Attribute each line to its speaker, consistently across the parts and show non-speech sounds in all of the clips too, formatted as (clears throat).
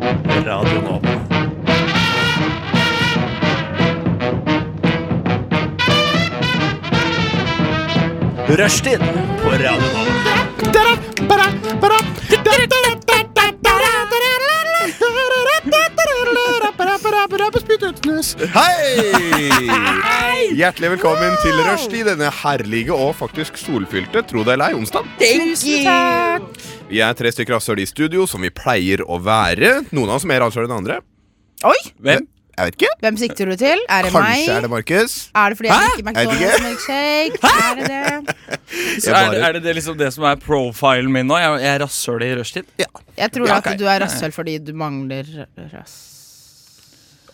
Speaker 1: Radio Nova. Rushtid på Radio Nova.
Speaker 2: Hei! Hjertelig velkommen til Rushdie, denne herlige og faktisk solfylte, tro det eller ei, onsdag. Vi er tre stykker rasshøl i studio, som vi pleier å være. Noen av oss mer rasshøl enn andre.
Speaker 3: Oi!
Speaker 1: Hvem?
Speaker 2: Jeg vet ikke.
Speaker 3: Hvem sikter du til? Er det meg?
Speaker 2: Kanskje er det Markus.
Speaker 3: Er det fordi jeg
Speaker 2: Jeg
Speaker 3: liker
Speaker 2: vet ikke.
Speaker 3: McDonald's milkshake? Er det det?
Speaker 2: Jeg
Speaker 1: Så er, det,
Speaker 2: bare-
Speaker 1: er det det liksom det som er profilen min nå? Jeg, jeg er rasshøl i rushtid.
Speaker 3: Jeg tror
Speaker 2: Ja,
Speaker 3: at
Speaker 2: ok.
Speaker 3: du er rasshøl fordi du mangler rass.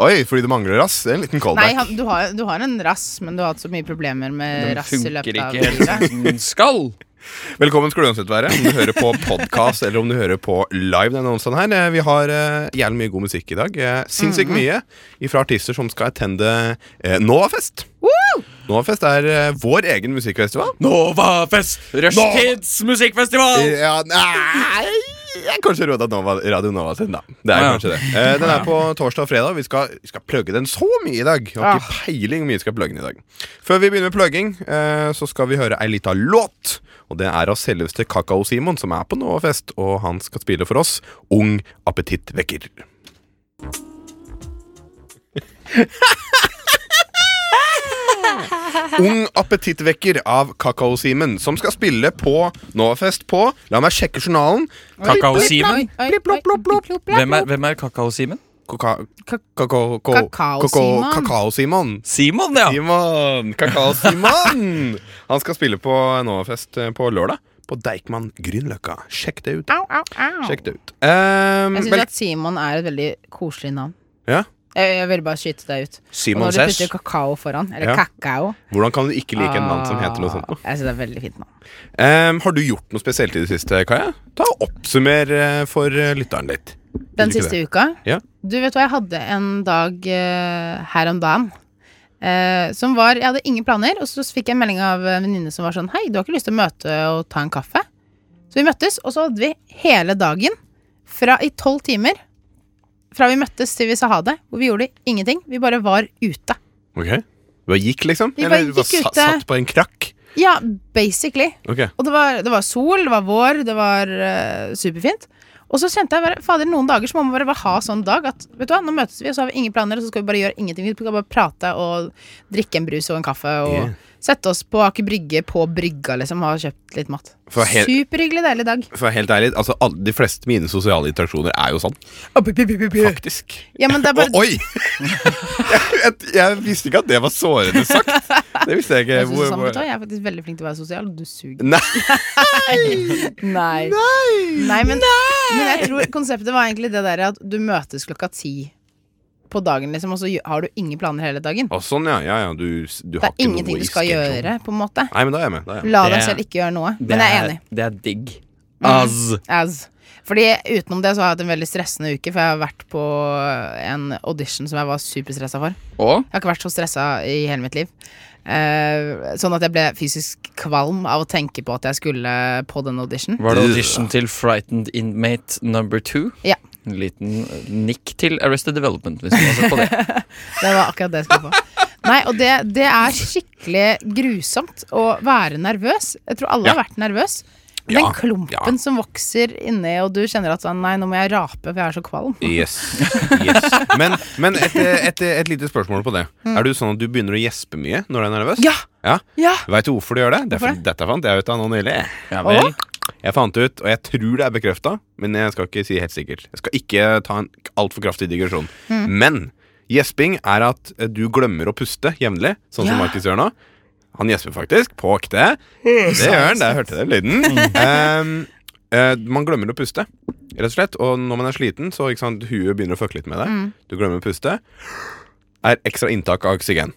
Speaker 2: Oi, fordi det mangler rass. Det er En liten
Speaker 3: Nei,
Speaker 2: callback.
Speaker 3: han, du, har, du har en rass, men du har hatt så mye problemer med
Speaker 1: Den
Speaker 3: rass i
Speaker 1: funker
Speaker 3: løpet av
Speaker 1: ikke helt
Speaker 3: livet.
Speaker 1: som den skal.
Speaker 2: Velkommen skal du uansett være, om du hører på podkast eller om du hører på live denne onsdagen her. Eh, Vi har eh, jævlig mye god musikk i dag. Eh, Sinnssykt mye fra artister som skal attende eh, Novafest. Novafest er eh, vår egen musikkfestival.
Speaker 1: Novafest! Rushtids musikkfestival!
Speaker 2: Ja, nei jeg er Kanskje Roda Nova, Radio Nova sin, da. Det er
Speaker 1: Ja.
Speaker 2: kanskje det. Eh, den er på torsdag og fredag. Vi skal, vi skal plugge den så mye i dag. Jeg har ikke peiling hvor mye vi skal plugge den i dag. Før vi begynner med plugging, eh, så skal vi høre ei lita låt. Og det er av selveste Kakao-Simon, som er på Novafest, og han skal spille for oss Ung appetittvekker. Ung appetittvekker av Kakao-Simen, som skal spille på Novafest på La meg sjekke journalen.
Speaker 1: Kakao-Simen?
Speaker 3: Oi, oi, oi.
Speaker 1: Hvem er, hvem er Kakao-Simen?
Speaker 2: Koka-
Speaker 3: Ka-
Speaker 2: kako- ko-
Speaker 3: Kakao
Speaker 2: koko-
Speaker 3: Simon.
Speaker 2: Kakao-Simon.
Speaker 1: Simon, ja!
Speaker 2: Simon!
Speaker 3: (laughs)
Speaker 2: Kakao-Simon! Han skal spille på Novafest eh, på lørdag. På Deichman Grünerløkka. Sjekk det ut. da.
Speaker 3: Au, au, au.
Speaker 2: Sjekk det ut. Um,
Speaker 3: Jeg syns at Simon er et veldig koselig navn.
Speaker 2: ja.
Speaker 3: Jeg, jeg vil bare skyte deg ut. Og
Speaker 1: Simon
Speaker 3: når du putter kakao foran, eller
Speaker 2: Ja.
Speaker 3: kakao
Speaker 2: Hvordan kan du ikke like en mann som heter noe sånt? nå?
Speaker 3: ah, Jeg syns det er veldig fint navn.
Speaker 2: Um, har du gjort noe spesielt i det siste, Kaja? Ta og Oppsummer eh, for eh, lytteren litt.
Speaker 3: Den
Speaker 2: Vil du ikke
Speaker 3: siste uka
Speaker 2: Ja.
Speaker 3: Du vet hva, jeg hadde en dag eh, her om dagen eh, som var Jeg hadde ingen planer, og så fikk jeg en melding av en venninne som var sånn Hei, du har ikke lyst til å møte og ta en kaffe? Så vi møttes, og så hadde vi hele dagen fra, i tolv timer fra vi møttes til vi sa ha det, hvor vi gjorde ingenting. Vi bare var ute.
Speaker 2: Ok. Du bare gikk, liksom?
Speaker 3: Vi bare
Speaker 2: Eller du bare
Speaker 3: gikk
Speaker 2: sa-
Speaker 3: ute.
Speaker 2: satt på en krakk?
Speaker 3: Ja, basically.
Speaker 2: Ok.
Speaker 3: Og det var, det var sol, det var vår, det var eh, superfint. Og så kjente jeg bare, fader, noen dager så må man bare, bare ha sånn dag at vet du hva, nå møtes vi, og så har vi ingen planer, og så skal vi bare gjøre ingenting. Vi skal bare prate og drikke en brus og en kaffe og
Speaker 2: Yeah.
Speaker 3: sette oss på Aker Brygge på brygga, liksom, og ha kjøpt litt mat.
Speaker 2: For helt-
Speaker 3: Superhyggelig, deilig dag.
Speaker 2: For å være helt ærlig, altså, alle, de fleste mine sosiale interaksjoner er jo sånn. Faktisk.
Speaker 3: Ja, men det er bare
Speaker 2: Å, oi! (laughs) jeg, jeg, jeg visste ikke at det var sårende sagt. Det visste jeg ikke.
Speaker 3: jeg, synes det
Speaker 2: Hvor-
Speaker 3: er sånn,
Speaker 2: hvor-
Speaker 3: vet du hva, jeg er faktisk veldig flink til å være sosial, og du suger.
Speaker 2: Nei.
Speaker 3: Nei. Nei, men, men jeg tror konseptet var egentlig det der at du møtes klokka ti på dagen, liksom, og så gjø- har du ingen planer hele dagen.
Speaker 2: Å, sånn, ja. ja, ja. Du, du
Speaker 3: Det
Speaker 2: har
Speaker 3: er
Speaker 2: ikke
Speaker 3: ingenting
Speaker 2: noe
Speaker 3: du
Speaker 2: i
Speaker 3: skal
Speaker 2: schedule.
Speaker 3: gjøre, på en måte.
Speaker 2: Nei, men da er jeg med. Da er jeg med.
Speaker 3: La
Speaker 1: Det
Speaker 3: deg
Speaker 1: er-
Speaker 3: selv ikke gjøre noe. Men jeg er enig. Mm.
Speaker 1: Det er digg. Az.
Speaker 3: As. Fordi utenom det så har jeg hatt en veldig stressende uke, for jeg har vært på en audition som jeg var superstressa for.
Speaker 1: Og?
Speaker 3: Jeg har ikke vært så stressa i hele mitt liv. Eh, sånn at jeg ble fysisk kvalm av å tenke på at jeg skulle på den audition.
Speaker 1: Var det audition til Frightened Inmate number two?
Speaker 3: Ja.
Speaker 1: En liten eh, nikk til Arrested Development, hvis man ser på det.
Speaker 3: Det var akkurat det jeg skulle på. Nei, og det, det er skikkelig grusomt å være nervøs. Jeg tror alle
Speaker 2: Ja.
Speaker 3: har vært nervøs. Den
Speaker 2: Ja,
Speaker 3: klumpen
Speaker 2: ja.
Speaker 3: som vokser inni, og du kjenner at sånn, nei, nå må jeg rape, for jeg er så kvalm.
Speaker 2: Yes. yes. Men, men et, et, et lite spørsmål på det. Er du sånn at du begynner å gjespe mye når du er nervøs?
Speaker 3: Mm. Ja!
Speaker 2: ja.
Speaker 3: Ja!
Speaker 2: Veit du hvorfor du gjør det? Det er
Speaker 3: Hvorfor
Speaker 2: fordi dette fant jeg ut av nå nylig.
Speaker 1: Ja vel.
Speaker 2: Jeg fant ut, og jeg tror det er bekrefta, men jeg skal ikke si helt sikkert. Jeg skal ikke ta en altfor kraftig digresjon. Men gjesping er at eh, du glemmer å puste jevnlig, sånn som
Speaker 3: Ja.
Speaker 2: Markus gjør nå. Han gjesper faktisk, på ekte. Det gjør han, der hørte dere lyden. (laughs) Ehm, eh, man glemmer å puste, rett og slett. Og når man er sliten, så ikke sant, huet begynner å fucke litt med deg. Du glemmer å puste. Er ekstra inntak av oksygen.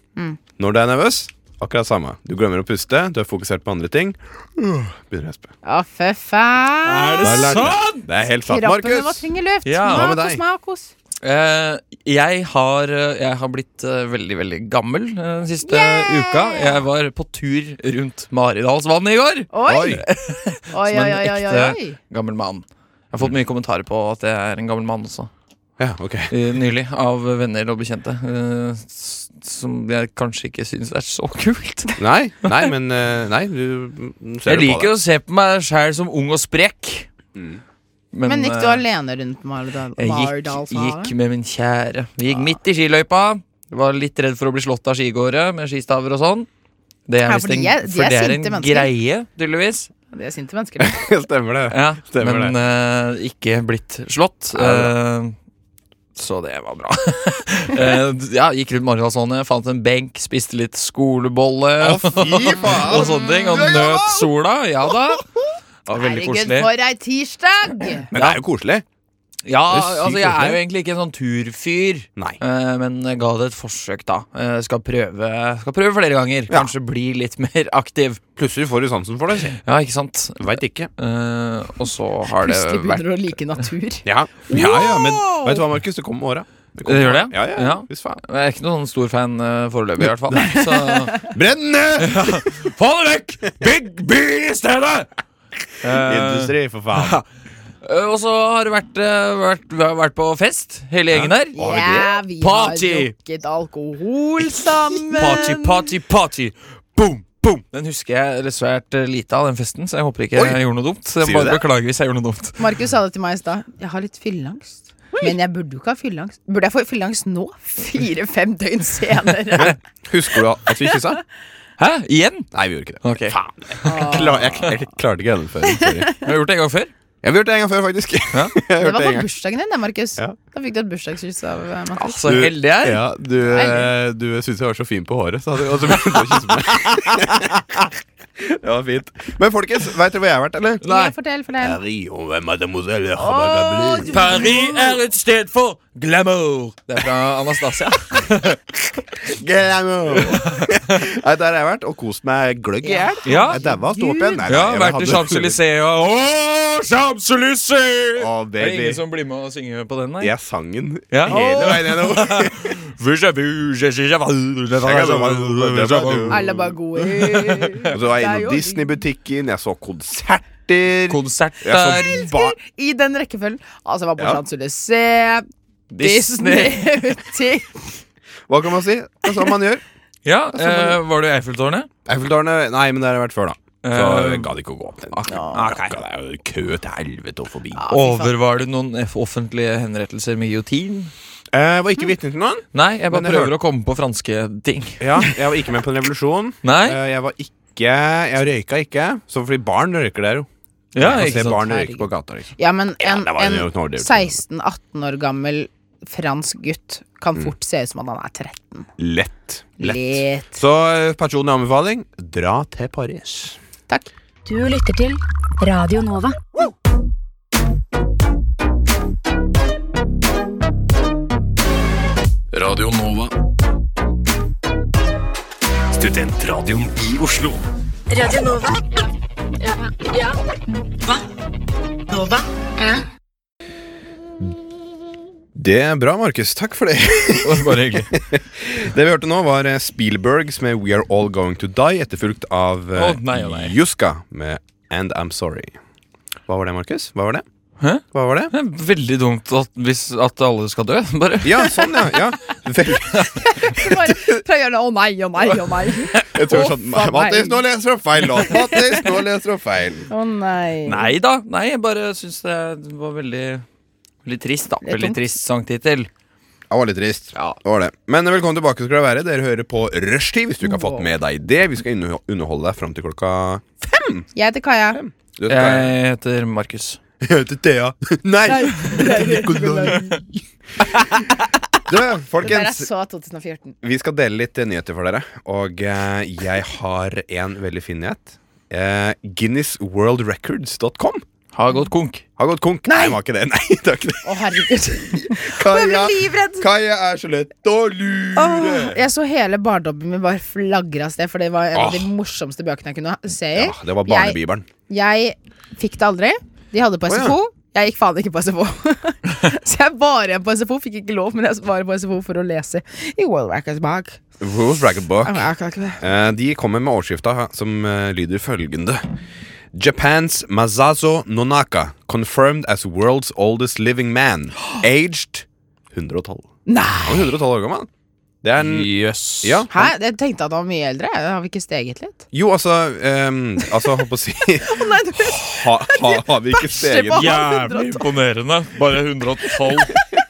Speaker 2: Når du er nervøs, akkurat samme. Du glemmer å puste, du er fokusert på andre ting. Begynner å gjespe.
Speaker 3: Å, fy faen!
Speaker 2: Da lærte jeg. Det er helt sant,
Speaker 3: Kroppen vår
Speaker 2: Markus.
Speaker 3: trenger luft.
Speaker 1: Ja.
Speaker 2: Hva med
Speaker 3: Makos,
Speaker 2: deg?
Speaker 3: makos.
Speaker 1: Eh, jeg, har, eh, jeg har blitt eh, veldig, veldig gammel eh, den siste uka. Jeg var på tur rundt Maridalsvannet i går.
Speaker 3: Oi! Oi,
Speaker 2: Oi.
Speaker 3: oi,
Speaker 1: Som en
Speaker 3: oi, oi,
Speaker 1: ekte-
Speaker 3: oi.
Speaker 1: Gammel mann. Jeg har fått mye kommentarer på at jeg er en gammel mann også.
Speaker 2: Ja, ok
Speaker 1: eh, nylig av venner og bekjente. eh, s- som jeg kanskje ikke syns er så kult.
Speaker 2: Nei, nei, men eh, Nei, du mm, ser
Speaker 1: Jeg
Speaker 2: du på
Speaker 1: liker å se på meg sjæl som ung og sprek.
Speaker 2: Mm.
Speaker 1: Men,
Speaker 3: Men gikk du
Speaker 1: eh,
Speaker 3: alene rundt på Mardal-
Speaker 1: Jeg gikk,
Speaker 3: Mardalshavet?
Speaker 1: gikk med min kjære. Vi gikk midt i skiløypa. Var litt redd for å bli slått av skigåere med skistaver og sånn. Det er
Speaker 3: Ja,
Speaker 1: visst
Speaker 3: for de
Speaker 1: en,
Speaker 3: er- de
Speaker 1: for
Speaker 3: er
Speaker 1: det er
Speaker 3: sinte
Speaker 1: en
Speaker 3: mennesker.
Speaker 1: greie, tydeligvis.
Speaker 3: Det er sinte mennesker. det.
Speaker 2: det. (laughs) Stemmer det.
Speaker 1: Ja,
Speaker 2: Stemmer
Speaker 1: men eh, ikke blitt slått. eh, så det var bra. (laughs) Eh, ja, gikk rundt Margalsånet, fant en benk, spiste litt skolebolle
Speaker 2: Å, fy
Speaker 1: (laughs)
Speaker 2: faen!
Speaker 1: og sånne ting. Og
Speaker 2: Du er gammel!
Speaker 1: nøt sola. Ja da. Det var veldig
Speaker 3: Herregud,
Speaker 1: koselig.
Speaker 3: for ei tirsdag!
Speaker 2: Men det er jo koselig.
Speaker 1: Ja,
Speaker 2: Det er sykt
Speaker 1: altså jeg
Speaker 2: koselig.
Speaker 1: er jo egentlig ikke en sånn turfyr.
Speaker 2: Nei.
Speaker 1: Eh, Men jeg ga det et forsøk, da. Eh, Skal prøve, skal prøve flere ganger.
Speaker 2: Ja.
Speaker 1: Kanskje bli litt mer aktiv.
Speaker 2: Plutselig får du sansen for det. si.
Speaker 1: Ja, ikke sant?
Speaker 2: Veit ikke.
Speaker 1: Eh, og så har det
Speaker 3: Plutselig
Speaker 1: vært
Speaker 3: begynner du å like natur.
Speaker 2: Ja, ja, ja men vet du hva, Markus? Det kommer med åra.
Speaker 1: Det gjør det?
Speaker 2: Ja, ja, ja.
Speaker 1: Ja.
Speaker 2: Hvis faen.
Speaker 1: Jeg er ikke noen stor fan eh, foreløpig, i hvert fall. (laughs) Så (laughs)
Speaker 2: Brennende
Speaker 1: få det vekk! Bygg by i stedet! Eh,
Speaker 2: industri, for faen.
Speaker 1: eh, og så har det vært, eh, vært, vi har vært på fest, hele gjengen her.
Speaker 2: Har vi det?
Speaker 3: Ja, vi
Speaker 1: Party!
Speaker 3: har drukket alkohol sammen.
Speaker 1: Party, party, party. Boom, boom. Den husker jeg eller svært eh, lite av, den festen, så jeg håper ikke
Speaker 2: Oi.
Speaker 1: jeg gjorde noe dumt. Så
Speaker 2: Sier
Speaker 1: jeg
Speaker 2: du
Speaker 1: bare
Speaker 2: det?
Speaker 1: beklager hvis jeg gjorde noe dumt.
Speaker 3: Markus sa det til meg i stad. Jeg har litt fylleangst. Men jeg burde jo ikke ha fylleangst. Burde jeg få fylleangst nå? Fire-fem døgn senere.
Speaker 2: Husker du at vi kyssa?
Speaker 1: Hæ? Igjen?
Speaker 2: Nei, vi gjorde ikke det.
Speaker 1: Ok.
Speaker 2: Faen. Jeg, klar, jeg, jeg klarte ikke å gjennomføre det. Sorry.
Speaker 1: Har du gjort det en gang før?
Speaker 2: Jeg har gjort det en gang før, faktisk.
Speaker 1: Ja.
Speaker 2: (laughs) Jeg har
Speaker 3: Det
Speaker 2: gjort det
Speaker 3: var
Speaker 2: en
Speaker 3: på
Speaker 2: gang.
Speaker 3: bursdagen din, det, Markus.
Speaker 2: Ja.
Speaker 3: Da fikk du et bursdagskyss av eh,
Speaker 1: Ah,
Speaker 3: Mattis.
Speaker 1: så
Speaker 2: Du-
Speaker 1: heldig jeg er.
Speaker 2: Ja, du eh, du syntes jeg var så fin på håret, sa du. Og så begynte du å kysse meg. (laughs) Det var fint. Men folkens, veit dere hvor jeg har vært, eller?
Speaker 1: Nei.
Speaker 3: Ja, fortell, fortell.
Speaker 2: Rio, mademoiselle
Speaker 3: Å, du-
Speaker 1: Paris er et sted for glamour. Det er fra Anastasia.
Speaker 2: (laughs) Glamour! Nei, der har jeg vært og kost meg gløgg i hjel.
Speaker 1: Ja.
Speaker 2: Jeg daua og sto opp igjen. Nei,
Speaker 1: Ja,
Speaker 2: nei, jeg
Speaker 1: vært i
Speaker 2: hadde-
Speaker 1: Champs-Élysées og Åh, Champs-Élysées!
Speaker 2: Å,
Speaker 1: Det er
Speaker 2: baby.
Speaker 1: ingen som blir med og synger på den, nei?
Speaker 2: Jeg sang den
Speaker 1: Ja.
Speaker 2: hele veien gjennom.
Speaker 1: Déjà vu, je- je- je- déjà vu.
Speaker 3: Alle bare gode. I
Speaker 2: (laughs) Og så var jeg
Speaker 3: Det er jo-
Speaker 2: innom Disney-butikken, jeg så konserter.
Speaker 1: Konsert
Speaker 2: Jeg så
Speaker 1: der.
Speaker 2: bar-
Speaker 3: den rekkefølgen. Altså, jeg var på
Speaker 2: Ja.
Speaker 3: Champs-Élysées, Disney-butikk
Speaker 2: Hva kan man si? Det er sånn man gjør.
Speaker 1: Ja, eh, var du i Eiffeltårnet?
Speaker 2: Eiffeltårnet Nei, men det har jeg vært før, da. Så
Speaker 1: Eh,
Speaker 2: jeg gadd ikke å gå opp den.
Speaker 1: ok.
Speaker 2: Det er jo kø til helvete og forbi.
Speaker 3: Ja, fy faen.
Speaker 1: Overvar du noen f- offentlige henrettelser med giotin?
Speaker 2: Jeg Eh, var ikke vitne til noen.
Speaker 1: Nei, jeg bare
Speaker 2: Men jeg
Speaker 1: prøver å komme på franske ting.
Speaker 2: Ja, jeg var ikke med på en revolusjon.
Speaker 1: Nei?
Speaker 2: Eh, Jeg var ikke Jeg røyka ikke. Så fordi barn røyker der, jo.
Speaker 1: Ja,
Speaker 2: Jeg
Speaker 1: ikke
Speaker 2: ser barn
Speaker 1: sant.
Speaker 2: røyke på gata. Liksom.
Speaker 3: Ja, men en,
Speaker 2: det var jo en
Speaker 3: en
Speaker 2: overdrivelse.
Speaker 3: 16-18 år gammel fransk gutt kan fort se ut som at han er 13.
Speaker 2: Lett. Mm. Lett.
Speaker 3: Litt.
Speaker 2: Så eh, personlig anbefaling dra til Paris.
Speaker 3: Takk.
Speaker 4: Du lytter til Radio Nova.
Speaker 5: Radio Nova. Studentradioen i Oslo.
Speaker 4: Radio Nova. Ja. Hva? Nova?
Speaker 2: Det er bra, Markus. Takk
Speaker 1: (laughs)
Speaker 2: for det.
Speaker 1: Bare hyggelig.
Speaker 2: (laughs) Det vi hørte nå, var eh, Spielbergs med We Are All Going To Die, etterfulgt av eh,
Speaker 1: Å, nei, å, nei.
Speaker 2: Juska med And I'm Sorry. Hva var det, Markus? Hva var det?
Speaker 1: Hæ?
Speaker 2: Hva var det?
Speaker 1: Det er Veldig dumt at, hvis, at alle skal dø, (laughs) bare.
Speaker 2: Ja, sånn, ja. (laughs) ja. Vel,
Speaker 3: Bare prøv å gjøre det. Å nei, å nei, å nei.
Speaker 2: (laughs) jeg tror
Speaker 3: Å,
Speaker 2: sånn
Speaker 3: faen meg.
Speaker 2: Mattis, nå leser du feil låt! Mattis, nå leser du feil!
Speaker 3: Å nei.
Speaker 1: Nei da. Nei, jeg bare syns det var veldig Veldig trist, da.
Speaker 3: er
Speaker 1: Veldig
Speaker 3: tungt.
Speaker 1: trist sangtittel.
Speaker 2: Det var litt trist. Det var det. Men velkommen tilbake skal dere være. Dere hører på Rushtid hvis du ikke har fått med deg det. Vi skal inne- underholde deg fram til klokka
Speaker 3: Jeg heter Kaja.
Speaker 2: Du vet hva jeg-
Speaker 1: Jeg heter Markus.
Speaker 2: Jeg heter Thea. (laughs) Nei! Du,
Speaker 3: Det der er
Speaker 2: folkens.
Speaker 3: så 2014.
Speaker 2: Vi skal dele litt eh, nyheter for dere. Og eh, jeg har en veldig fin nyhet. Eh, Guinnessworldrecords.com
Speaker 1: Har gått konk.
Speaker 2: har gått konk. Nei, det var ikke det. Nei, det var ikke det.
Speaker 3: Å herregud. Jeg
Speaker 2: Kaja,
Speaker 3: blir livredd.
Speaker 2: Kaja er så lett å lure.
Speaker 3: (laughs) Åh, jeg så hele barndommen min bare flagre av sted, for det var en av de
Speaker 2: Åh.
Speaker 3: morsomste bøkene jeg kunne se i.
Speaker 2: Ja, det var barnebibelen.
Speaker 3: Jeg fikk det aldri. De hadde på
Speaker 2: Å, ja.
Speaker 3: SFO. Jeg gikk faen ikke på SFO. (laughs) så jeg var igjen på SFO, fikk ikke lov, men jeg var på SFO for å lese i World Records Bag.
Speaker 2: Rules Record Book.
Speaker 3: Jeg kan ikke det.
Speaker 2: Eh, de kommer med overskrifta som eh, lyder følgende. Japan's Masazo Nonaka confirmed as world's oldest living man, (gasps) aged 112.
Speaker 3: Nei!
Speaker 2: Han er 112 år gammel. Det er en
Speaker 1: Jøss.
Speaker 2: Ja.
Speaker 3: Hæ? Jeg tenkte at han var mye eldre. Har vi ikke steget litt?
Speaker 2: Jo, altså ehm, Altså, holdt på å si (laughs)
Speaker 3: Nei, du
Speaker 2: ha, ha, Har vi ikke
Speaker 3: Bæsje
Speaker 2: steget
Speaker 3: på
Speaker 2: ja,
Speaker 3: han,
Speaker 1: (laughs) Jævlig
Speaker 3: 112.
Speaker 1: imponerende. Bare 112.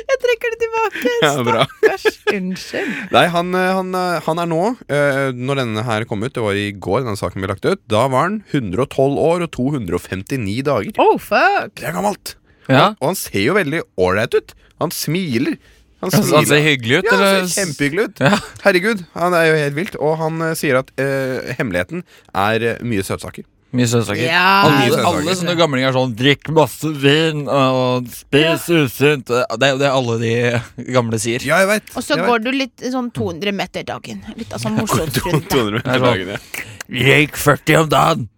Speaker 3: Jeg trekker det (laughs) tilbake.
Speaker 2: bra.
Speaker 3: Stakkars. Unnskyld.
Speaker 2: Nei, han, eh, han, eh, han er nå eh, Når denne her kom ut, det var i går denne saken ble lagt ut, da var han 112 år og 259 dager.
Speaker 3: Oh, fuck.
Speaker 2: Det er gammelt!
Speaker 1: (laughs) Ja.
Speaker 2: Og han ser jo veldig ålreit ut. Han smiler. Han
Speaker 1: Altså, han ser hyggelig ut,
Speaker 2: Ja, han
Speaker 1: eller?
Speaker 2: ser kjempehyggelig ut.
Speaker 1: Ja.
Speaker 2: Herregud, han er jo helt vilt. Og han eh, sier at eh, hemmeligheten er eh, mye søtsaker.
Speaker 1: Mye søtsaker.
Speaker 3: Ja.
Speaker 1: Alle,
Speaker 2: Mye
Speaker 1: alle
Speaker 2: søtsaker.
Speaker 1: sånne gamlinger er sånn 'drikk masse vin og spis usunt'. Det er jo det alle de (laughs) gamle sier.
Speaker 2: Ja, jeg vet.
Speaker 3: Og så går du litt sånn 200 meter dagen. Litt av sånn morsomt
Speaker 2: (laughs) 200
Speaker 3: rundt deg.
Speaker 1: Det er
Speaker 2: meter
Speaker 1: sånn.
Speaker 2: dagen, ja.
Speaker 1: Røyk 40 om dagen!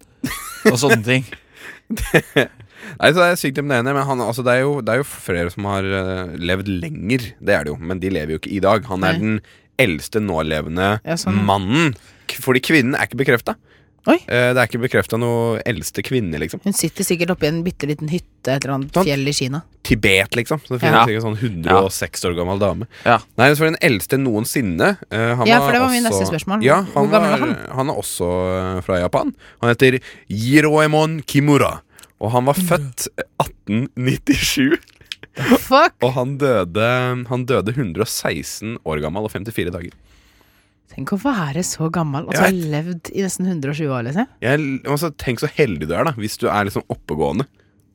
Speaker 1: Og sånne ting.
Speaker 2: Nei, så Det er sykt imponerende, men han, altså, det, er jo, det er jo flere som har eh, levd lenger. Det er det jo, men de lever jo ikke i dag. Han er
Speaker 3: Nei.
Speaker 2: den eldste nålevende
Speaker 3: Ja, sånn.
Speaker 2: mannen. K- Fordi kvinnen er ikke bekrefta.
Speaker 3: Oi.
Speaker 2: det er ikke bekrefta noe eldste kvinne, liksom.
Speaker 3: Hun sitter sikkert oppi en bitte liten hytte et eller annet
Speaker 2: Sant.
Speaker 3: fjell i Kina.
Speaker 2: Tibet, liksom. Så det finnes
Speaker 1: Ja.
Speaker 2: sikkert sånn 106 år gammel dame.
Speaker 1: Ja.
Speaker 2: Nei, for den eldste noensinne eh, han
Speaker 3: Ja,
Speaker 2: var
Speaker 3: for det var min
Speaker 2: også-
Speaker 3: neste spørsmål.
Speaker 2: Ja,
Speaker 3: Hvor
Speaker 2: han
Speaker 3: gammel
Speaker 2: var,
Speaker 3: var han?
Speaker 2: Han er også eh, fra Japan. Han heter Jiroemon Kimura. Og han var født 1897.
Speaker 3: Fuck!
Speaker 2: Og han døde, han døde 116 år gammel og 54 dager.
Speaker 3: Tenk å være så gammel og så ha
Speaker 2: Jeg
Speaker 3: levd i nesten 120 år, liksom.
Speaker 2: Jeg, altså, tenk så heldig du er, da, hvis du er liksom oppegående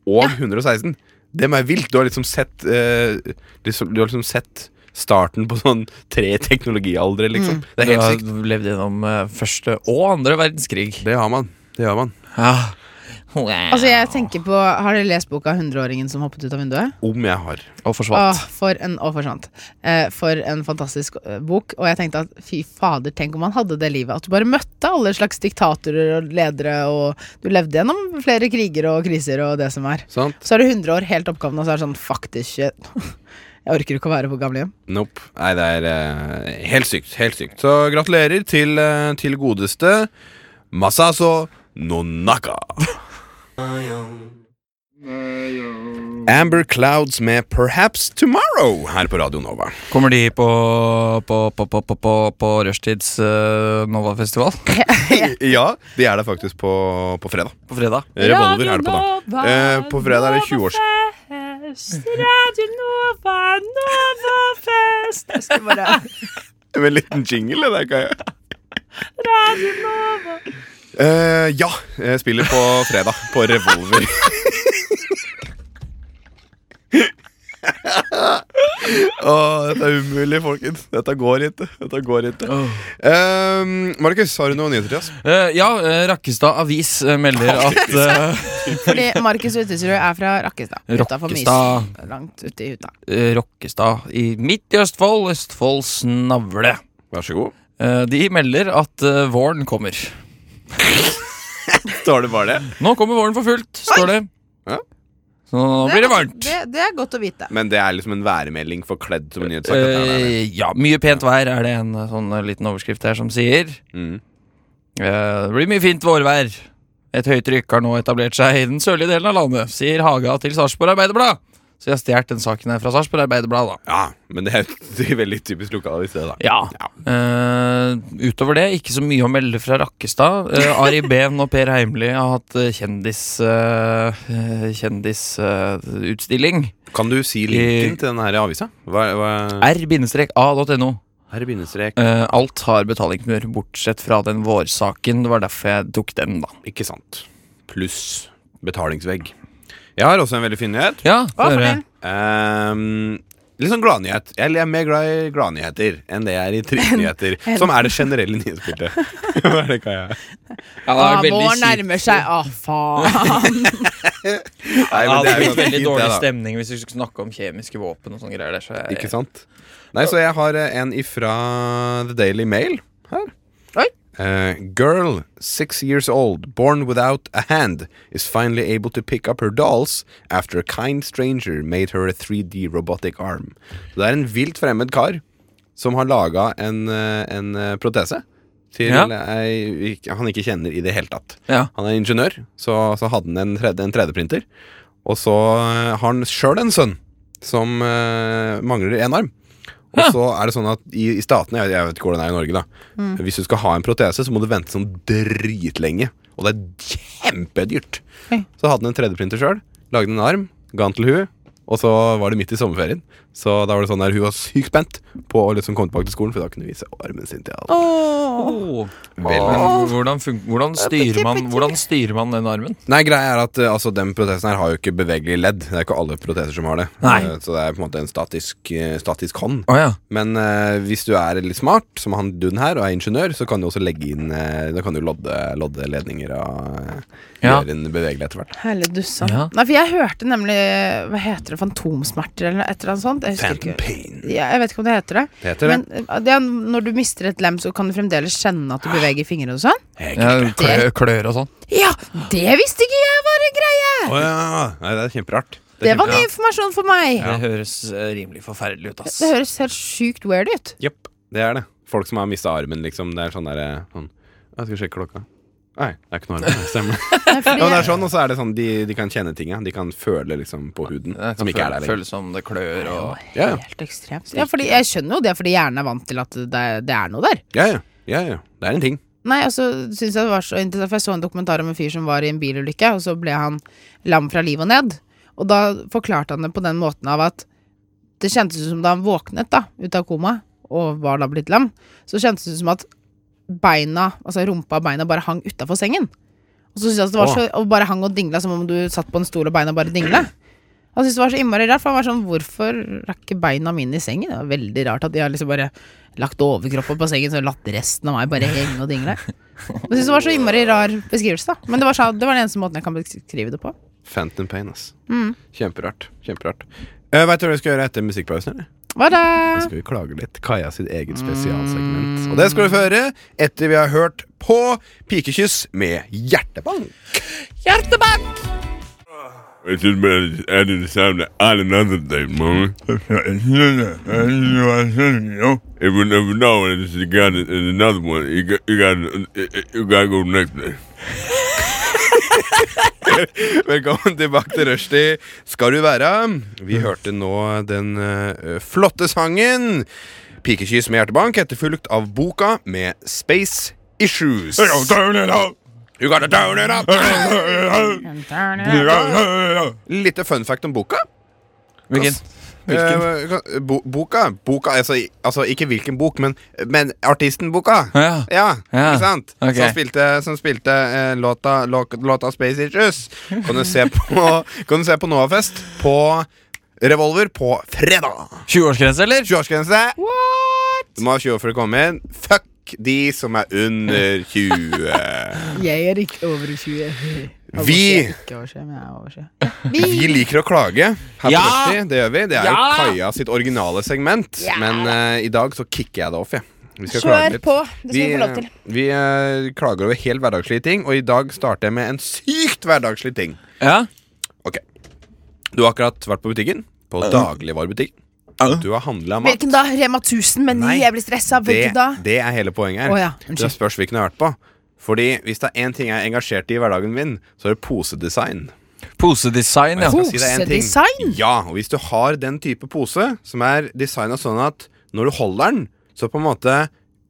Speaker 2: og 116. Det er vilt. Du har liksom sett eh, liksom, Du har liksom sett starten på sånn tre teknologialdre, liksom. Det er
Speaker 1: Du
Speaker 2: helt
Speaker 1: har
Speaker 2: sykt.
Speaker 1: levd gjennom eh, første og andre verdenskrig.
Speaker 2: Det har man. Det har man.
Speaker 1: Ja.
Speaker 3: Altså, jeg tenker på Har dere lest boka 100-åringen som hoppet ut av vinduet?
Speaker 2: Om jeg har.
Speaker 1: Og forsvant.
Speaker 3: Åh, for en, å, forsvant. Eh, for en fantastisk eh, bok. Og jeg tenkte at fy fader, tenk om han hadde det livet. At du bare møtte alle slags diktatorer og ledere, og du levde gjennom flere kriger og kriser og det som er.
Speaker 2: Sant?
Speaker 3: Så er du 100 år helt oppgavende, og så er det sånn faktisk shit. (laughs) Jeg orker ikke å være på gamlehjem.
Speaker 2: Nope. Nei, det er eh, helt sykt. Helt sykt. Så gratulerer til, eh, til godeste Masaso Nonaka. Amber Clouds med Perhaps Tomorrow her på Radio Nova.
Speaker 1: Kommer de på, på, på, på, på, på, på rushtids eh, Nova-festival
Speaker 2: (laughs) ja, de er der faktisk på, på fredag.
Speaker 1: på fredag?
Speaker 2: Revolver er det på da. Eh, på fredag er det 20-års
Speaker 3: Jeg skal bare
Speaker 1: (laughs)
Speaker 2: Med en liten jingle, det der kan jeg. Eh, ja, jeg spiller på fredag på Revolver. (laughs) Åh, dette er umulig, folkens. Dette går ikke. Dette går ikke. Eh, Markus, har du noen nyheter til oss?
Speaker 1: Eh, ja, eh, Rakkestad Avis eh, melder at
Speaker 3: Fordi Markus Uttesrud er fra Rakkestad. Utafor
Speaker 1: Rakkestad.
Speaker 3: Mysen. Langt ute i hytta.
Speaker 1: eh, Rokkestad i midt i Østfold, Østfolds navle.
Speaker 2: Vær så god.
Speaker 1: Eh, de melder at eh, våren kommer.
Speaker 2: Står det bare det?
Speaker 1: Nå kommer våren for fullt, står det.
Speaker 2: Ja.
Speaker 1: Så nå blir det varmt.
Speaker 3: Det, det er godt å vite.
Speaker 2: Men det er liksom en værmelding forkledd som en nyhetssak. dette her,
Speaker 1: Eh, ja, mye pent vær er det en eh, sånn eh, liten overskrift her som sier.
Speaker 2: det. Mm.
Speaker 1: Eh, det blir mye fint vårvær. Et høyt trykk har nå etablert seg i den sørlige delen av landet, sier Haga til Sarpsborg Arbeiderblad. Så jeg har stjålet den saken her fra Sarpsborg Arbeiderblad, da.
Speaker 2: Ja, men det er (laughs) jo veldig typisk lokalavis, det, da.
Speaker 1: Ja. Eh, utover det, ikke så mye å melde fra Rakkestad. Eh, (laughs) Ari Behn og Per Heimly har hatt eh, kjendis eh, eh, kjendisutstilling.
Speaker 2: Kan du si linken til den her avisa? Hva, hva
Speaker 1: R-a.no.
Speaker 2: Her er bindestrek.
Speaker 1: Eh, alt har betalingsmur, bortsett fra den vårsaken. Det var derfor jeg tok den, da.
Speaker 2: Ikke sant. Pluss betalingsvegg. Jeg har også en veldig fin nyhet.
Speaker 1: Ja,
Speaker 3: Å,
Speaker 1: får høre.
Speaker 3: fortell.
Speaker 2: Ehm, litt sånn gladnyhet. Jeg er mer glad i gladnyheter enn det jeg er i
Speaker 1: (laughs)
Speaker 2: tristnyheter. Som er det generelle nyhetsbildet. (laughs) Hva er det, Kaja?
Speaker 1: Ja, det
Speaker 3: Å,
Speaker 1: har vært veldig
Speaker 3: vår
Speaker 1: kjipt.
Speaker 3: Ah, nærmer seg. Å,
Speaker 1: (laughs)
Speaker 3: faen.
Speaker 2: Nei,
Speaker 1: Ja, det
Speaker 2: men er
Speaker 1: har
Speaker 2: jo
Speaker 1: blitt veldig
Speaker 2: fint,
Speaker 1: dårlig
Speaker 2: det, da.
Speaker 1: stemning hvis vi skulle snakke om kjemiske våpen og sånne greier. Der, så jeg,
Speaker 2: Ikke sant? Nei, så jeg har eh, en ifra The Daily Mail her.
Speaker 3: Oi.
Speaker 2: Eh, girl, six years old, born without a hand, is finally able to pick up her dolls after a kind stranger made her a 3D robotic arm. Så det er en vilt fremmed kar som har laga en, eh, en eh, protese til
Speaker 1: Ja.
Speaker 2: ei ikke- han ikke kjenner i det hele tatt.
Speaker 1: Ja.
Speaker 2: Han er ingeniør, så, så hadde han en, 3D, en 3D-printer. Og så eh, har han sjøl en sønn som eh, mangler en arm. Og så er det sånn at i, i statene, jeg, jeg vet ikke hvordan det er i Norge, da. Hvis du skal ha en protese, så må du vente sånn dritlenge. Og det er kjempedyrt.
Speaker 3: Oi.
Speaker 2: Så hadde han en 3D-printer sjøl, lagde en arm, ga den til hun og så var det midt i sommerferien. Så da var det sånn der hun var sykt spent på å liksom komme tilbake til skolen, for da kunne hun vise armen sin til alle.
Speaker 1: Oh.
Speaker 2: Veldig.
Speaker 1: Men Hvordan, fun- hvordan, styrer man, hvordan styrer man den armen?
Speaker 2: Nei, greia er at eh, altså, den protesen her har jo ikke bevegelig ledd. Det er ikke alle proteser som har det.
Speaker 1: Nei.
Speaker 2: Eh, Så det er på en måte en statisk, eh, statisk hånd.
Speaker 1: Å ja.
Speaker 2: Men eh, hvis du er litt smart, som han Dun her, og er ingeniør, så kan du også legge inn eh, Da kan du lodde, lodde ledninger og eh,
Speaker 1: Ja.
Speaker 2: gjøre en bevegelig etter hvert.
Speaker 3: Hele dussa.
Speaker 1: Ja.
Speaker 3: Nei, for jeg hørte nemlig Hva heter det? Fantomsmerter eller et eller annet sånt? Jeg husker ikke.
Speaker 2: pain.
Speaker 3: Ja, jeg vet ikke om det heter det.
Speaker 2: Heter det.
Speaker 3: Men eh, det er, når du mister et lem, så kan du fremdeles kjenne at du
Speaker 2: Ah.
Speaker 3: beveger fingre og sånn?
Speaker 1: ja klø, klør og sånn.
Speaker 3: Ja! Det visste ikke jeg var en greie!
Speaker 2: Å ja! Nei, det er kjemperart. Det
Speaker 3: Det
Speaker 2: er
Speaker 3: var ny informasjon for meg!
Speaker 1: Det høres eh, rimelig forferdelig ut, ass.
Speaker 3: Det høres helt sjukt weird ut.
Speaker 2: kjempe- Jepp, det er det. Folk som har mista armen, liksom. Det er sånn derre sånn, Jeg skal sjekke klokka. Nei, det er ikke noe arm. Det Stemmer.
Speaker 3: Nei,
Speaker 2: Ja,
Speaker 3: fordi
Speaker 2: men det er
Speaker 3: jeg-
Speaker 2: sånn, og så er det sånn de, de kan kjenne tinga. De kan føle liksom på huden.
Speaker 1: Det kan
Speaker 2: Som ikke
Speaker 1: føle-
Speaker 2: er der lenger.
Speaker 1: føles som det klør og
Speaker 2: Ja, ja.
Speaker 3: Helt ekstremt. Ja, fordi jeg skjønner jo det, fordi hjernen er vant til at det, det er noe der.
Speaker 2: Ja, ja. ja, ja. Det er en ting.
Speaker 3: Nei, altså, synes jeg det var så interessant For jeg så en dokumentar om en fyr som var i en bilulykke Og så ble han lam fra liv og ned Og da forklarte han det på den måten av at Det kjentes ut som da han våknet da Ut av koma Og var da blitt lam Så kjentes det ut som at beina Altså rumpa og beina bare hang utenfor sengen Og så synes jeg at det var så Og bare hang og dingla som om du satt på en stol og beina bare dingla han syntes det var så innmari rart, for han var sånn Hvorfor er ikke beina mine i sengen? Det var veldig rart at de har liksom bare lagt overkroppen på sengen og latt resten av meg bare henge og dingle. Jeg synes det var så innmari rar beskrivelse, da. Men det var, så, det var den eneste måten jeg kan beskrive det på.
Speaker 2: Phantom pain, ass. Kjemperart. Kjemperart. Uh, Veit du hva vi skal gjøre etter musikkpausen? eller?
Speaker 3: Hva da?
Speaker 2: Da skal vi klage litt. Kaja sitt eget
Speaker 1: Mm.
Speaker 2: spesialsegment. Og det skal du få høre etter vi har hørt på Pikekyss med hjertebank.
Speaker 6: It's just been at the time that I did another day, mommy. If you never know, and it's you got it- it's another one. You got, you got, you got to go next day.
Speaker 2: Velkommen tilbake til Rushdie. Skal du være? Vi hørte nå den eh, flotte sangen Pikekyss med hjertebank, etterfulgt av boka med Space Issues. You gotta turn it up. Lite fun fact om boka.
Speaker 1: Hvilken?
Speaker 2: Eh, kan- bo boka, boka altså, i- altså ikke hvilken bok, men, men artisten Boka.
Speaker 1: Ja.
Speaker 2: Ja,
Speaker 1: Ja,
Speaker 2: ikke sant?
Speaker 1: ok.
Speaker 2: Som spilte, som spilte eh, låta, lå- låta Space Issues. Kan du se på, (laughs) kan du se på Novafest på Revolver på fredag.
Speaker 1: 20-årsgrense, eller?
Speaker 2: 20-årsgrense. Du må ha 20 år for å komme inn. Fuck de som er under 20.
Speaker 3: Jeg er ikke over 20.
Speaker 2: Vi-
Speaker 3: Ikke over 20, men jeg er over 20.
Speaker 2: Vi liker å klage her
Speaker 1: Ja!
Speaker 2: på Rushdie. Det gjør vi. Det er jo
Speaker 1: Ja!
Speaker 2: Kaja sitt originale segment. Men eh, i dag så kicker jeg det off, jeg. Vi skal klage litt.
Speaker 3: Det
Speaker 2: Vi, eh, vi eh, klager over helt hverdagslige ting, og i dag starter jeg med en sykt hverdagslig ting.
Speaker 1: Ja.
Speaker 2: Ok Du har akkurat vært på butikken. På dagligvarebutikken. Du har handla mat.
Speaker 3: Hvilken da? Rema 1000 med
Speaker 2: Nei,
Speaker 3: ni? Jeg blir stressa.
Speaker 2: Det,
Speaker 3: Hvilken da?
Speaker 2: det er hele poenget her.
Speaker 3: Å ja,
Speaker 2: Det
Speaker 3: unnskyld.
Speaker 2: spørs hvilken jeg har vært på. Fordi hvis det er én ting jeg er engasjert i i hverdagen min, så er det posedesign.
Speaker 1: Posedesign, ja.
Speaker 2: Jeg skal si deg en ting.
Speaker 3: Posedesign?
Speaker 2: Ja, og hvis du har den type pose som er designa sånn at når du holder den, så på en måte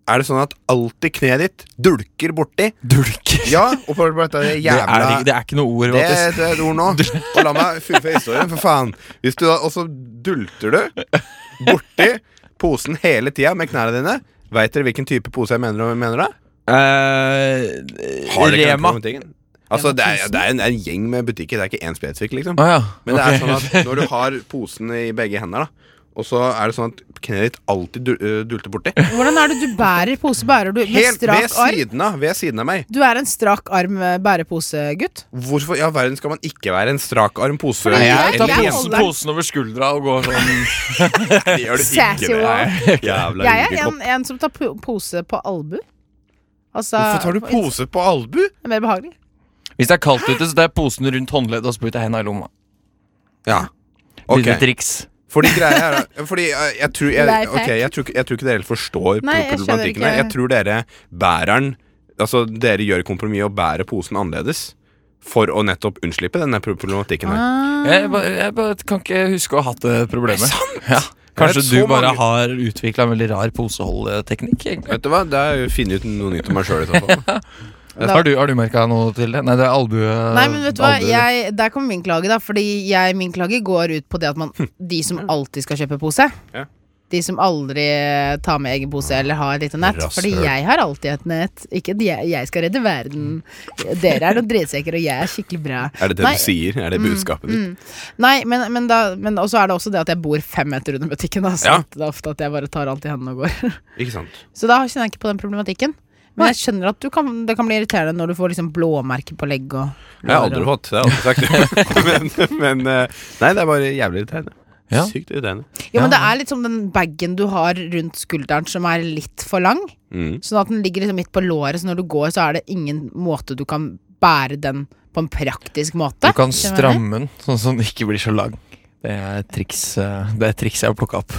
Speaker 2: er det sånn at alltid kneet ditt dulker borti.
Speaker 1: Dulker.
Speaker 2: Ja, og på på dette
Speaker 1: Det er,
Speaker 2: jævla
Speaker 1: ikke- det er ikke noe ord.
Speaker 2: det,
Speaker 1: Mattis.
Speaker 2: det er et ord (laughs) nå. Og la meg fullføre historien, for faen. Hvis du da, og så dulter du borti posen hele tida med knærne dine. Veit dere hvilken type pose jeg mener, mener da?
Speaker 1: Eh,
Speaker 2: dere ikke den
Speaker 1: Rema.
Speaker 2: på butikken? Altså, det er, det er en, det er en gjeng med butikker, det er ikke én spesifikk, liksom.
Speaker 1: Å
Speaker 3: Ah,
Speaker 1: ja.
Speaker 2: Men det
Speaker 1: ok.
Speaker 2: er sånn
Speaker 3: (laughs)
Speaker 2: at når du har posen i begge hender, da og så er det sånn at kneet ditt alltid dul øh, dulter borti.
Speaker 3: Hvordan er det du bærer pose? Bærer du med
Speaker 2: Helt ved
Speaker 3: strak arm?
Speaker 2: siden, av, ved siden av meg.
Speaker 3: Du er en strak arm eh, bæreposegutt.
Speaker 2: Hvorfor i all verden skal man ikke være en strakarm pose?
Speaker 3: Fordi
Speaker 1: Ta
Speaker 3: jeg-
Speaker 2: Eller-
Speaker 3: jeg
Speaker 1: posen,
Speaker 3: holder den.
Speaker 1: posen over skuldra og går sånn.
Speaker 2: Det gjør du ikke,
Speaker 3: Sassy
Speaker 2: det er Jævla
Speaker 3: Jeg er
Speaker 2: ugekopp.
Speaker 3: en, en som tar po- pose på albu. Altså,
Speaker 2: Hvorfor tar du pose på albu?
Speaker 3: Det er mer behagelig.
Speaker 1: Hvis det er kaldt ute, så tar jeg posen rundt håndleddet og så putter jeg henda i lomma.
Speaker 2: Ja.
Speaker 1: Lille
Speaker 2: Ok,
Speaker 1: triks.
Speaker 2: fordi greia er da- Fordi øh, jeg tror jeg,
Speaker 3: Lifehack.
Speaker 2: ok, jeg, tror, ikke- jeg tror ikke dere helt forstår
Speaker 3: Nei, jeg skjønner
Speaker 2: problematikken her.
Speaker 3: ikke.
Speaker 2: Jeg tror dere bærer den Altså, dere gjør kompromiss og bærer posen annerledes. for å nettopp unnslippe denne pro- problematikken her.
Speaker 3: Ah.
Speaker 1: Jeg, ba- jeg ba- kan ikke huske å ha hatt det problemet. Ja. Kanskje
Speaker 2: vet
Speaker 1: du
Speaker 2: så
Speaker 1: bare
Speaker 2: mange-
Speaker 1: har utvikla en veldig rar poseholdteknikk? egentlig.
Speaker 2: Vet du hva, da finner jeg ut noe nytt om meg sjøl i så
Speaker 3: (laughs)
Speaker 2: fall.
Speaker 1: Har du, har du merka noe til det? Nei, det er albue...
Speaker 3: Nei,
Speaker 2: Eh,
Speaker 3: men vet du hva,
Speaker 1: albue-
Speaker 3: jeg, der kommer min klage, da. Fordi jeg, min klage går ut på det at man De som alltid skal kjøpe pose.
Speaker 2: Ja.
Speaker 3: De som aldri tar med egen pose eller har et lite nett. Fordi
Speaker 2: Rasshøl.
Speaker 3: jeg har alltid et nett. Ikke at jeg, jeg skal redde verden. Dere er noen drittsekker, og jeg er skikkelig bra.
Speaker 2: Er det det
Speaker 3: Nei.
Speaker 2: du sier? Er det budskapet ditt?
Speaker 3: Mm. Nei, men, men da men også er det også det at jeg bor fem meter under butikken. Da, så
Speaker 2: Ja.
Speaker 3: at det er ofte at jeg bare tar alt i hendene og går. (laughs)
Speaker 2: Ikke sant?
Speaker 3: Så da kjenner jeg ikke på den problematikken. Men jeg skjønner at du kan, det kan bli irriterende når du får liksom blåmerker på legg og
Speaker 2: Det har jeg aldri fått. Det har jeg aldri sagt. (laughs) men, men eh, Nei, det er bare jævlig irriterende.
Speaker 1: Ja.
Speaker 2: Sykt irriterende.
Speaker 3: Jo, men
Speaker 1: Ja.
Speaker 3: det er litt som den baggen du har rundt skulderen som er litt for lang.
Speaker 2: Mm.
Speaker 3: Sånn at den ligger liksom midt på låret, så når du går, så er det ingen måte du kan bære den på en praktisk
Speaker 1: Du
Speaker 3: måte.
Speaker 1: kan
Speaker 3: Skjønner du hva jeg
Speaker 1: stramme den, sånn at den ikke blir så lang. Det er et triks, eh, det er et triks jeg har plukka opp.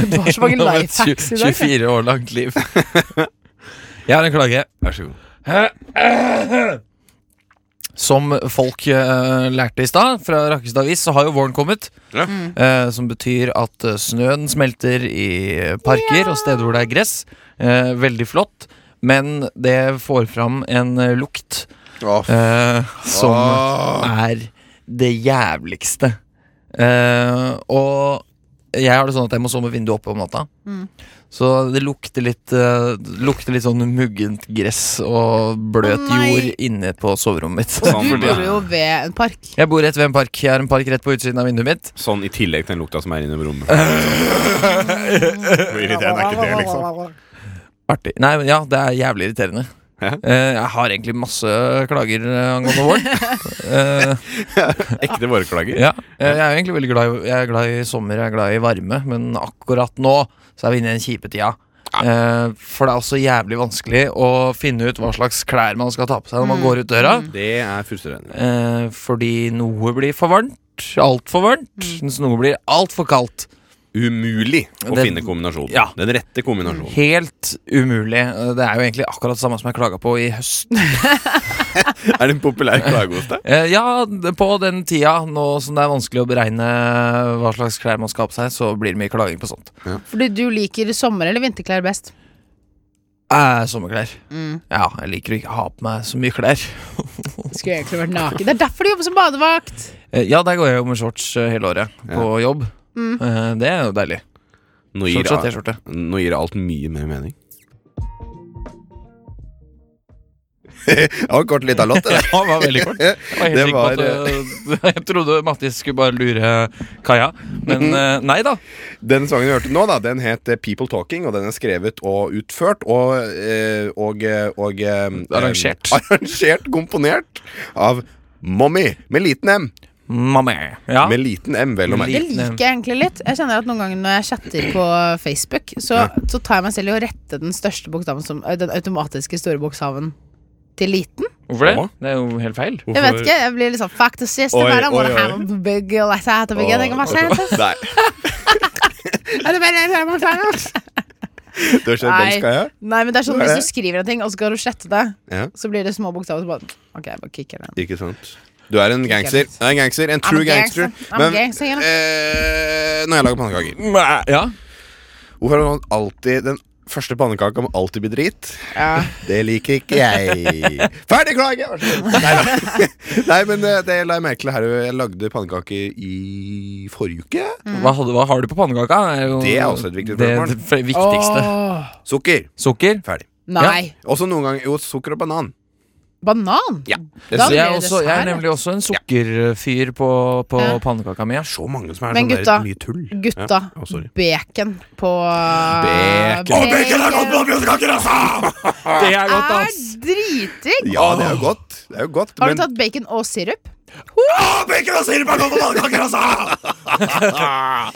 Speaker 3: mener? Du har
Speaker 1: (laughs)
Speaker 3: så mange
Speaker 1: Gjennom et
Speaker 3: life hacks i dag.
Speaker 1: 24 år langt
Speaker 3: (laughs)
Speaker 1: liv. Jeg har en klage.
Speaker 2: Vær så god.
Speaker 3: (laughs)
Speaker 1: Som folk eh, lærte i stad, fra Rakkestad Avis, så har jo våren kommet.
Speaker 2: Ja.
Speaker 3: Mm.
Speaker 1: Eh, som betyr at eh, snøen smelter i eh, parker og steder hvor det er gress. Eh, veldig flott. Men det får fram en eh, lukt eh, som er det jævligste. Eh, og jeg har det sånn at jeg må sove med vinduet oppe om natta.
Speaker 3: Mm.
Speaker 1: Så det lukter litt, eh, det lukter litt sånn muggent gress og bløt
Speaker 3: Å, nei.
Speaker 1: jord inne på soverommet mitt.
Speaker 3: Du
Speaker 2: Sånn,
Speaker 3: bor jo ved en park.
Speaker 1: Jeg bor rett ved en park. Jeg har en park rett på utsiden av vinduet mitt.
Speaker 2: sånn i tillegg til den lukta som er inne i rommet. Hvor irriterende er ikke det, liksom?
Speaker 1: Artig. Nei, men ja, det er jævlig irriterende.
Speaker 2: Ja.
Speaker 1: Eh, jeg har egentlig masse klager eh, angående våren. Eh,
Speaker 2: Ekte vårklager.
Speaker 1: ja. Eh, Jeg er egentlig veldig glad i, jeg er glad i sommer, jeg er glad i varme, men akkurat nå så er vi inne i den kjipe tida. Eh, for det er også jævlig vanskelig å finne ut hva slags klær man skal ta på seg når man går ut døra.
Speaker 2: Det er frustrerende.
Speaker 1: Eh, fordi noe blir for varmt. Altfor varmt. Mens noe blir altfor kaldt.
Speaker 2: Umulig å
Speaker 1: Det-
Speaker 2: finne kombinasjonen.
Speaker 1: Ja.
Speaker 2: Den rette kombinasjonen.
Speaker 1: Helt umulig. Eh, Det er jo egentlig akkurat det samme som jeg klaga på i høst.
Speaker 2: Er det en populær klage hos deg?
Speaker 1: Eh, ja, d- på den tida nå som det er vanskelig å beregne hva slags klær man skal ha på seg, så blir det mye klaging på sånt.
Speaker 3: Fordi du liker sommer- eller vinterklær best.
Speaker 1: Eh, sommerklær.
Speaker 3: Mm.
Speaker 1: Ja, jeg liker å ikke ha på meg så mye klær.
Speaker 3: Skulle egentlig vært naken. Det er derfor du jobber som badevakt!
Speaker 1: Eh, ja, der går jeg jo med shorts eh, hele året på jobb.
Speaker 3: Mm.
Speaker 1: Eh, det er jo deilig.
Speaker 2: Nå gir,
Speaker 1: Shorts og
Speaker 2: (laughs)
Speaker 1: T-skjorte.
Speaker 2: nå gir alt mye mer (laughs) mening. det var kort lita låt, det.
Speaker 1: Ja, det var veldig kort. Jeg, var helt sikker på
Speaker 2: Det
Speaker 1: at, eh, (laughs) jeg trodde Mattis skulle bare lure eh, Kaja, men
Speaker 2: Mhm.
Speaker 1: eh, nei da.
Speaker 2: Den sangen du hørte nå, da, den het eh, People Talking, og den er skrevet og utført og eh, og, eh, og eh,
Speaker 1: Mm, Arrangert.
Speaker 2: eh, (laughs) arrangert, komponert av Mommy med liten M.
Speaker 1: Mamma. Ja.
Speaker 2: Med liten M, vel å
Speaker 3: Det
Speaker 2: merke.
Speaker 1: Liten M.
Speaker 3: liker jeg egentlig litt. Jeg kjenner at Noen ganger når jeg chatter på Facebook, så, så tar jeg meg selv i å rette den største bokstaven som ø, Den automatiske store bokstaven til liten.
Speaker 1: Hvorfor det?
Speaker 2: Mamma?
Speaker 1: Det er jo helt feil.
Speaker 3: Jeg vet ikke, jeg blir litt sånn Fuck the system,
Speaker 2: Oi,
Speaker 3: I don't wanna
Speaker 2: oi, oi.
Speaker 3: have a big letter at the beginning of my
Speaker 2: (laughs)
Speaker 3: sentence.
Speaker 2: Nei,
Speaker 3: I don't wanna have a sentence.
Speaker 2: du har skjønt
Speaker 3: Nei.
Speaker 2: den skal jeg?
Speaker 3: Nei, men det er sånn
Speaker 2: Hva er
Speaker 3: hvis
Speaker 2: det?
Speaker 3: du skriver en ting, og så skal du slette det,
Speaker 2: Ja.
Speaker 3: så blir det små bokstaver som bare OK, jeg bare kicker den.
Speaker 2: Ikke sant. Du er en gangster. Du er en gangster, En true
Speaker 3: I'm a gangster.
Speaker 2: gangster.
Speaker 3: I'm a gangster, you know.
Speaker 2: eh, når jeg lager pannekaker
Speaker 1: Eh, Ja.
Speaker 2: Hvorfor har man alltid den første pannekaka må alltid bli drit?
Speaker 3: Ja.
Speaker 2: Det liker ikke jeg. Ferdig klage! Vær så
Speaker 3: (laughs)
Speaker 2: god. Nei, da. Nei, men eh, det la jeg merke til her. Jeg lagde pannekaker i forrige uke.
Speaker 3: Mm.
Speaker 1: Hva, hadde, hva har du på pannekaka? er jo
Speaker 2: Det er også et viktig spørsmål.
Speaker 1: Det, det viktigste.
Speaker 3: Åh,
Speaker 2: Sukker.
Speaker 1: Sukker.
Speaker 2: Ferdig.
Speaker 3: nei.
Speaker 2: Også noen ganger jo sukker og banan.
Speaker 3: Banan?
Speaker 2: Ja.
Speaker 3: Da
Speaker 1: Så
Speaker 3: blir
Speaker 1: jeg, er
Speaker 3: det
Speaker 1: også, jeg er
Speaker 3: dessert.
Speaker 1: nemlig også en sukkerfyr på, på
Speaker 3: Ja.
Speaker 1: pannekaka mi. ja.
Speaker 2: Så mange som er sånn
Speaker 3: Men gutta,
Speaker 2: der mye tull.
Speaker 3: Gutta, Ah,
Speaker 2: Å, sorry.
Speaker 3: bacon på eh,
Speaker 2: Bacon. Å, bacon er godt på pannekaker, altså!
Speaker 3: (laughs)
Speaker 1: Det er godt,
Speaker 3: er
Speaker 1: ass!
Speaker 3: dritdigg!
Speaker 2: Ja, det er jo godt. Det er jo godt
Speaker 3: Har du
Speaker 2: men
Speaker 3: tatt bacon og (laughs) sirup?
Speaker 2: Å, bacon og sirup er godt på pannekaker, altså!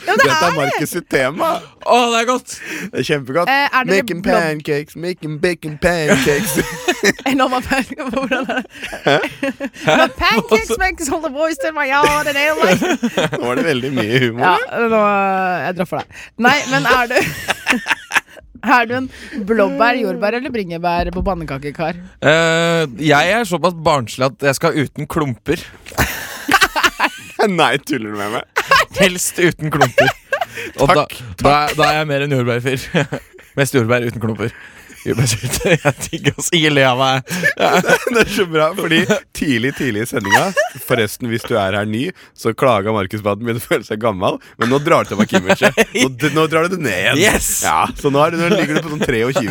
Speaker 2: Dette er Markus sitt tema.
Speaker 1: Å, det er godt!
Speaker 2: Det er kjempegodt.
Speaker 3: Eh, er det
Speaker 2: making
Speaker 3: blå-
Speaker 2: pancakes, making bacon
Speaker 3: (laughs)
Speaker 2: pancakes. (laughs)
Speaker 3: Nå må jeg- (laughs) Hvordan er det? (laughs) My pancakes makes all the boys in my yard and they like
Speaker 2: Nå var det veldig mye humor.
Speaker 3: Ja, nå Jeg dropper deg. Nei, men er du (laughs) Er du en blåbær, jordbær eller bringebær på pannekakekar?
Speaker 1: Eh, jeg er såpass barnslig at jeg skal uten klumper.
Speaker 2: (laughs) Nei, tuller du med meg? (laughs)
Speaker 1: Helst uten
Speaker 3: (laughs)
Speaker 1: klumper. Og da, da, er- da er jeg mer en jordbærfyr. (laughs) Mest jordbær uten klumper. Jordbærsyltetøy. (laughs) Jeg digger å si le av meg.
Speaker 2: Det er så bra, fordi tidlig tidlig i sendinga Forresten, hvis du er her ny, så klaga Markus på at han begynte å føle seg gammel, men nå drar du tilbake
Speaker 3: (laughs)
Speaker 2: imaget. Nå, d- nå drar du det ned igjen.
Speaker 1: Yes!
Speaker 2: Ja, så nå, er, du- nå ligger du på sånn 23.